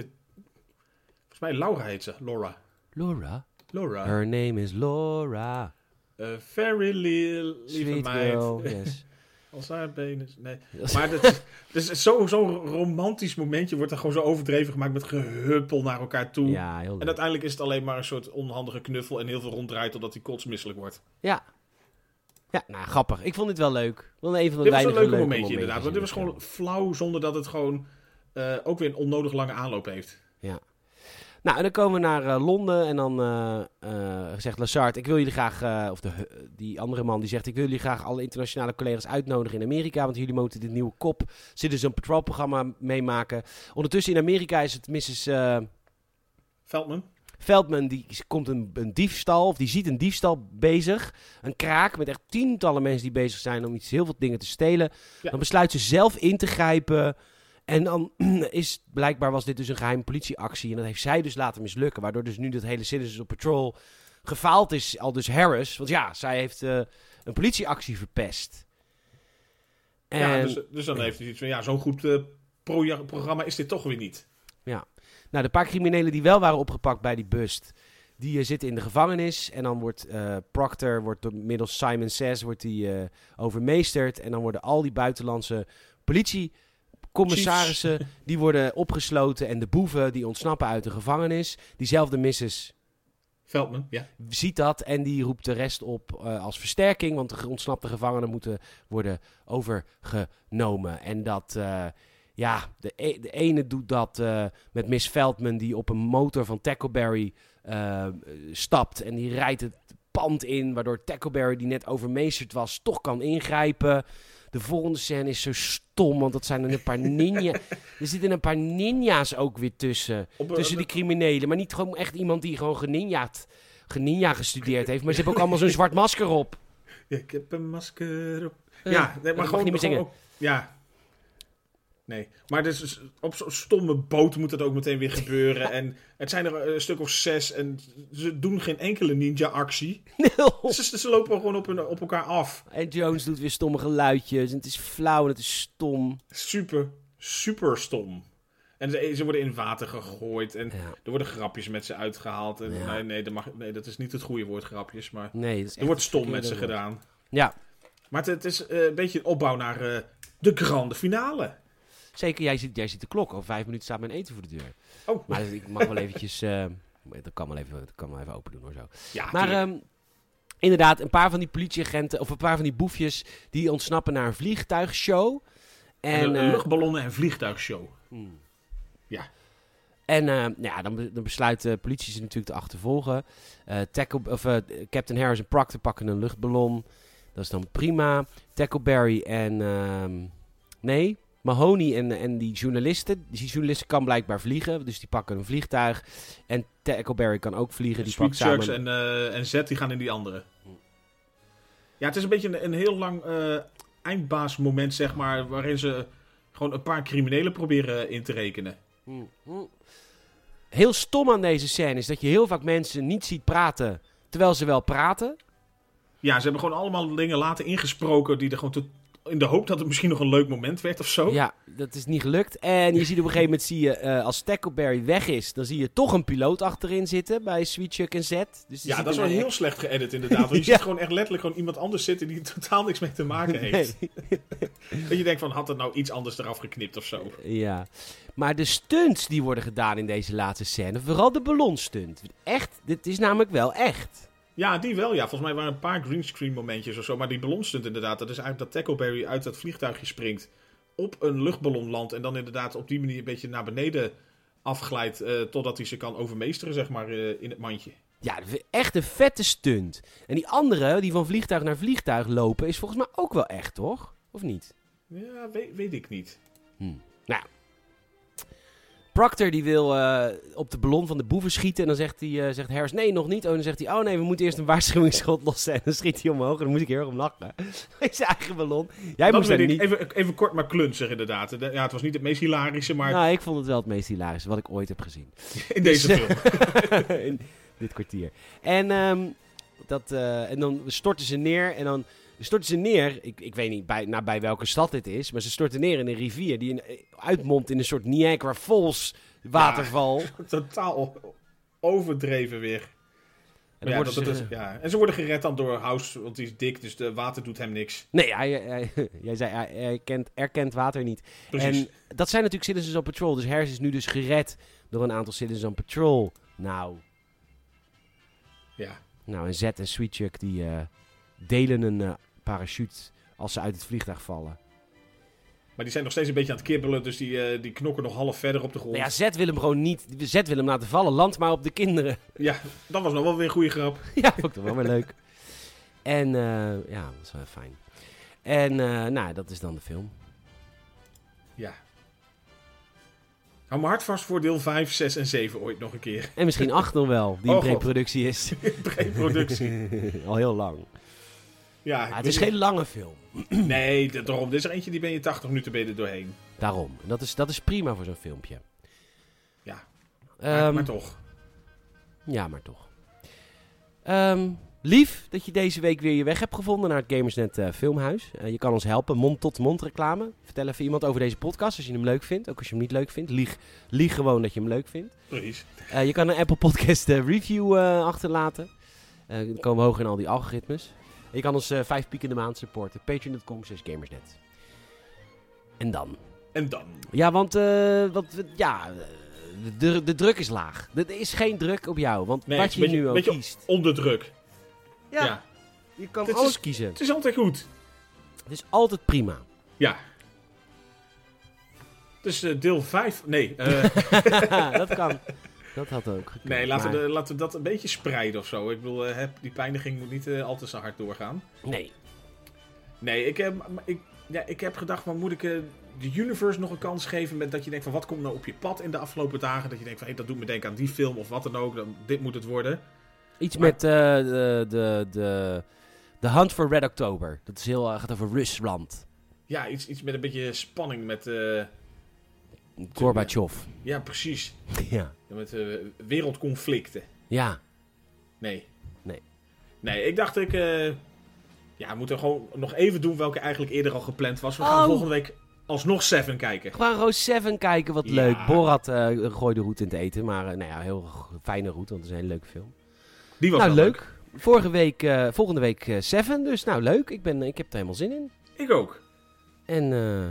B: volgens mij Laura heet ze. Laura.
A: Laura?
B: Laura.
A: Her name is Laura.
B: Eh, very li- lieve
A: Sweet
B: meid.
A: girl, yes.
B: Als haar benen... Nee. Maar dat, dus zo'n zo zo'n romantisch momentje wordt er gewoon zo overdreven gemaakt met gehuppel naar elkaar toe.
A: ja, heel
B: En
A: leuk.
B: uiteindelijk is het alleen maar een soort onhandige knuffel en heel veel ronddraait totdat hij kotsmisselijk wordt.
A: Ja. Ja, nou, grappig. Ik vond dit wel leuk. Wel een van de
B: Dit was
A: weinige
B: een leuke
A: leuke
B: momentje
A: momentjes
B: inderdaad, want dit was
A: in de
B: gewoon flauw zonder dat het gewoon eh, ook weer een onnodig lange aanloop heeft.
A: Nou, en dan komen we naar eh, Londen en dan eh, eh, zegt Lassard, ik wil jullie graag, eh, of de, die andere man die zegt, ik wil jullie graag alle internationale collega's uitnodigen in Amerika, want jullie moeten dit nieuwe kop Citizen Patrol programma meemaken. Ondertussen in Amerika is het Mrs. eh,
B: Veldman?
A: Veldman, die is- komt een, een diefstal, of die ziet een diefstal bezig, een kraak met echt tientallen mensen die bezig zijn om iets, heel veel dingen te stelen.
B: Ja.
A: Dan besluit ze zelf in te grijpen. En dan is blijkbaar was dit dus een geheime politieactie. En dat heeft zij dus laten mislukken. Waardoor dus nu dat hele Citizens op Patrol gefaald is. Al dus Harris. Want ja, zij heeft eh, een politieactie verpest. En,
B: Ja, dus, dus dan heeft hij iets van, ja, zo'n goed eh, proja- programma is dit toch weer niet.
A: Nou, de paar criminelen die wel waren opgepakt bij die bust, die eh, zitten in de gevangenis. En dan wordt eh, Proctor, wordt door middels Simon Says, wordt die eh, overmeesterd. En dan worden al die buitenlandse politiecommissarissen, die worden opgesloten. En de boeven, die ontsnappen uit de gevangenis. Diezelfde Mrs.
B: Veldman, ja.
A: ziet dat en die roept de rest op eh, als versterking. Want de ge- ontsnapte gevangenen moeten worden overgenomen. En dat, eh, ja, de, e- de ene doet dat eh, met Miss Veldman die op een motor van Tackleberry eh, stapt. En die rijdt het pand in, waardoor Tackleberry die net overmeesterd was toch kan ingrijpen. De volgende scène is zo stom, want dat zijn er een paar ninja. Er zitten een paar ninja's ook weer tussen.
B: Op, een-
A: Tussen Dus die criminelen. Maar niet gewoon echt iemand die gewoon geninjaat, geninja gestudeerd heeft. Maar ze hebben ook allemaal zo'n zwart masker op.
B: Ja, ik heb een masker op.
A: Eh,
B: ja, nee, maar
A: mag
B: gewoon,
A: je niet meer
B: gewoon
A: zingen.
B: ook- ja. Nee, maar dus, dus op zo'n stomme boot moet dat ook meteen weer gebeuren. En het zijn er eh, een stuk of zes en ze doen geen enkele ninja-actie.
A: Nul.
B: Ze, ze lopen gewoon op, hun- op elkaar af.
A: En Jones doet weer stomme geluidjes. En het is flauw en het is stom.
B: Super, super stom. En ze, ze worden in water gegooid en
A: Ja.
B: er worden grapjes met ze uitgehaald. En,
A: Ja.
B: nee, nee, dat mag, nee, dat is niet het goede woord, grapjes, maar
A: Nee, dat is
B: er
A: echt
B: wordt
A: het
B: stom met ze
A: verkeerde woord.
B: gedaan.
A: Ja,
B: Maar het, het is eh, een beetje een opbouw naar eh, de grande finale.
A: zeker. Jij ziet, jij ziet de klok. Al vijf minuten staat mijn eten voor de deur.
B: Oh,
A: Maar ik mag wel eventjes... eh, dat kan wel even, dat kan wel even open doen hoor zo.
B: ja,
A: Maar
B: tuurlijk.
A: ehm, inderdaad, een paar van die politieagenten... Of een paar van die boefjes... Die ontsnappen naar een vliegtuigshow.
B: En,
A: En,
B: een-
A: eh,
B: een luchtballonnen en vliegtuigshow.
A: Hmm.
B: Ja.
A: En eh, nou ja, dan, be- dan besluit de politie ze natuurlijk te achtervolgen. Eh, tackle, of, eh, Captain Harris en Proctor pakken een luchtballon. Dat is dan prima. Tackleberry en... ehm, nee, Mahoney en, en die journalisten. dus Die journalisten kan blijkbaar vliegen, dus die pakken een vliegtuig. En Tackleberry kan ook vliegen. Die
B: Sweet
A: pakt
B: Chucks
A: samen...
B: en, eh en Z die gaan in die andere. Ja, het is een beetje een, een heel lang eh, eindbaasmoment, zeg maar, waarin ze gewoon een paar criminelen proberen eh, in te rekenen.
A: Hm, Heel stom aan deze scène is dat je heel vaak mensen niet ziet praten... terwijl ze wel praten.
B: Ja, ze hebben gewoon allemaal dingen laten ingesproken die er gewoon tot- in de hoop dat het misschien nog een leuk moment werd of zo.
A: Ja, dat is niet gelukt. En je ziet op een gegeven moment, zie je, eh, als Tackleberry weg is, dan zie je toch een piloot achterin zitten bij Sweet Chuck en Z. Dus je ziet
B: Ja, dat is wel
A: een-
B: heel slecht geëdit inderdaad. Want je
A: Ja.
B: ziet gewoon echt letterlijk gewoon iemand anders zitten die totaal niks mee te maken heeft.
A: Nee.
B: Dat je denkt van, had het nou iets anders eraf geknipt of zo?
A: Ja. Maar de stunts die worden gedaan in deze laatste scène, vooral de ballonstunt. Echt, dit is namelijk wel echt.
B: Ja, die wel, ja. Volgens mij waren een paar greenscreen momentjes of zo. Maar die ballonstunt inderdaad. Dat is eigenlijk dat Tackleberry uit dat vliegtuigje springt. op een luchtballon landt en dan inderdaad op die manier een beetje naar beneden afglijdt eh, totdat hij ze kan overmeesteren, zeg maar, eh, in het mandje.
A: Ja, dat vind ik echt een vette stunt. En die andere, die van vliegtuig naar vliegtuig lopen, is volgens mij ook wel echt, toch? Of niet?
B: Ja, weet, weet ik niet.
A: Proctor die wil eh, op de ballon van de boeven schieten. En dan zegt, hij, eh, zegt Harris, nee, nog niet. Oh, dan zegt hij, oh nee, we moeten eerst een waarschuwingsschot lossen. En dan schiet hij omhoog en dan moet ik heel erg om lachen. Is zijn eigen ballon. Jij
B: Dat
A: moest
B: weet
A: daar
B: ik.
A: niet...
B: Even, even kort maar klunzig inderdaad. De- Ja, het was niet het meest hilarische, maar
A: Nou, ik vond het wel het meest hilarische wat ik ooit heb gezien.
B: in deze
A: dus-
B: film.
A: In dit kwartier. En, ehm, dat, eh, en dan storten ze neer en dan storten ze neer. Ik, ik weet niet bij, nou, bij welke stad dit is, maar ze storten neer in een rivier die in- uitmondt in een soort Niagara Falls waterval.
B: Totaal overdreven weer.
A: En
B: Maar
A: dan
B: ja,
A: worden
B: dat- dat
A: ze
B: is-
A: ge-
B: ja. En ze worden gered dan door House, want die is dik, dus de water doet hem niks.
A: Nee, hij, hij- jij zei hij herkent, erkent water niet.
B: Precies.
A: En dat zijn natuurlijk Citizens on Patrol. Dus Harris is nu dus gered door een aantal Citizens on Patrol. Nou,
B: Ja.
A: nou en Zet en Sweetchuck die eh, delen een eh, parachute als ze uit het vliegtuig vallen.
B: Maar die zijn nog steeds een beetje aan het kibbelen, dus die, eh, die knokken nog half verder op de grond.
A: Nou ja, Zet wil hem gewoon niet. Zet wil hem laten vallen. Land maar op de kinderen.
B: Ja, dat was nog wel weer een goede grap.
A: ja, vond ik toch wel weer leuk. En eh, ja, dat is wel fijn. En eh, nou, dat is dan de film.
B: Ja. Hou me hard vast voor deel 5, 6 en 7 ooit nog een keer.
A: En misschien acht nog wel, die
B: Oh,
A: in
B: God.
A: pre-productie is.
B: Preproductie.
A: Al heel lang.
B: Ja,
A: Maar
B: Ah, ik
A: Ah, het
B: weet
A: is geen lange film.
B: niet- Nee, d- daarom. Dit is er eentje die ben je 80 minuten ben je er doorheen.
A: Daarom. En dat is, dat is prima voor zo'n filmpje.
B: Ja, maar,
A: Ehm,
B: maar toch.
A: Ja, maar toch. Ehm, lief dat je deze week weer je weg hebt gevonden naar het Gamersnet eh, Filmhuis. Eh, je kan ons helpen, mond-tot-mond reclame. Vertel even iemand over deze podcast als je hem leuk vindt. Ook als je hem niet leuk vindt. Lieg, lieg gewoon dat je hem leuk vindt.
B: Precies.
A: Eh, je kan een Apple Podcast eh, review eh, achterlaten. Eh, dan komen we hoog in al die algoritmes. En je kan ons eh vijf piek in de maand supporten. Patreon.com slash Gamersnet. En dan...
B: En dan.
A: Ja, want eh, wat, we- ja, eh, de, de druk is laag. Er is geen druk op jou, want
B: Nee,
A: wat
B: het
A: je
B: is een beetje-
A: nu ook
B: beetje
A: kiest.
B: Onder druk. Ja.
A: je kan
B: Dit
A: alles
B: is-
A: kiezen.
B: Het is altijd goed.
A: Het is altijd prima.
B: Ja. Dus eh, deel 5. Nee, eh,
A: dat kan. Dat had ook gekund.
B: nee laten, we,
A: maar-
B: de- laten we dat een beetje spreiden of zo. Ik bedoel, eh, heb, die pijniging moet niet eh, al te hard doorgaan.
A: Nee.
B: Nee, ik heb, maar ik, ja, ik heb gedacht, maar moet ik eh, de universe nog een kans geven met dat je denkt van wat komt nou op je pad in de afgelopen dagen? Dat je denkt van hé, dat doet me denken aan die film of wat dan ook, dan, dit moet het worden.
A: Iets
B: Maar-
A: met eh, de, de, de, de Hunt for Red October. Dat is heel, eh, gaat over Rusland.
B: Ja, iets, iets met een beetje spanning met, eh,
A: Gorbachev.
B: ja precies,
A: Ja.
B: met eh, wereldconflicten.
A: Ja.
B: Nee.
A: Nee.
B: Nee, ik dacht ik, eh, ja, we moeten gewoon nog even doen welke eigenlijk eerder al gepland was. We
A: Oh.
B: gaan volgende week alsnog Seven kijken.
A: Gewoon Roos 7 kijken, wat
B: Ja.
A: leuk. Borat eh gooide roet in het eten, maar eh, nou ja, heel g- fijne roet, want het is een hele leuke film.
B: Die was
A: nou,
B: wel
A: leuk. Vorige week, eh, volgende week eh, Seven, dus nou leuk. Ik, ben, ik heb er helemaal zin in.
B: Ik ook.
A: En eh,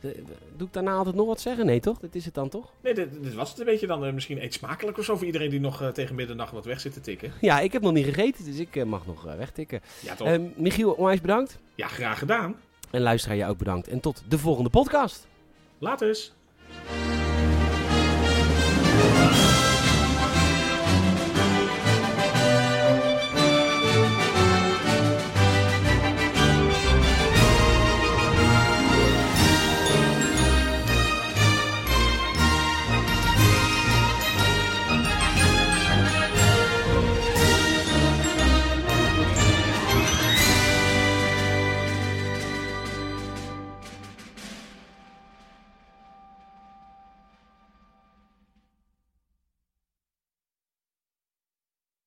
A: de- doe ik daarna altijd nog wat zeggen? Nee, toch? Dit is het dan toch?
B: Nee, dit, dit was het een beetje dan. eh, misschien eet smakelijk of zo voor iedereen die nog eh, tegen middernacht wat weg zit te tikken.
A: Ja, ik heb nog niet gegeten, dus ik eh, mag nog eh, wegtikken.
B: Ja, toch?
A: Eh Michiel, onwijs bedankt.
B: Ja, graag gedaan.
A: En luisteraar, je ook bedankt. En tot de volgende podcast.
B: Later eens.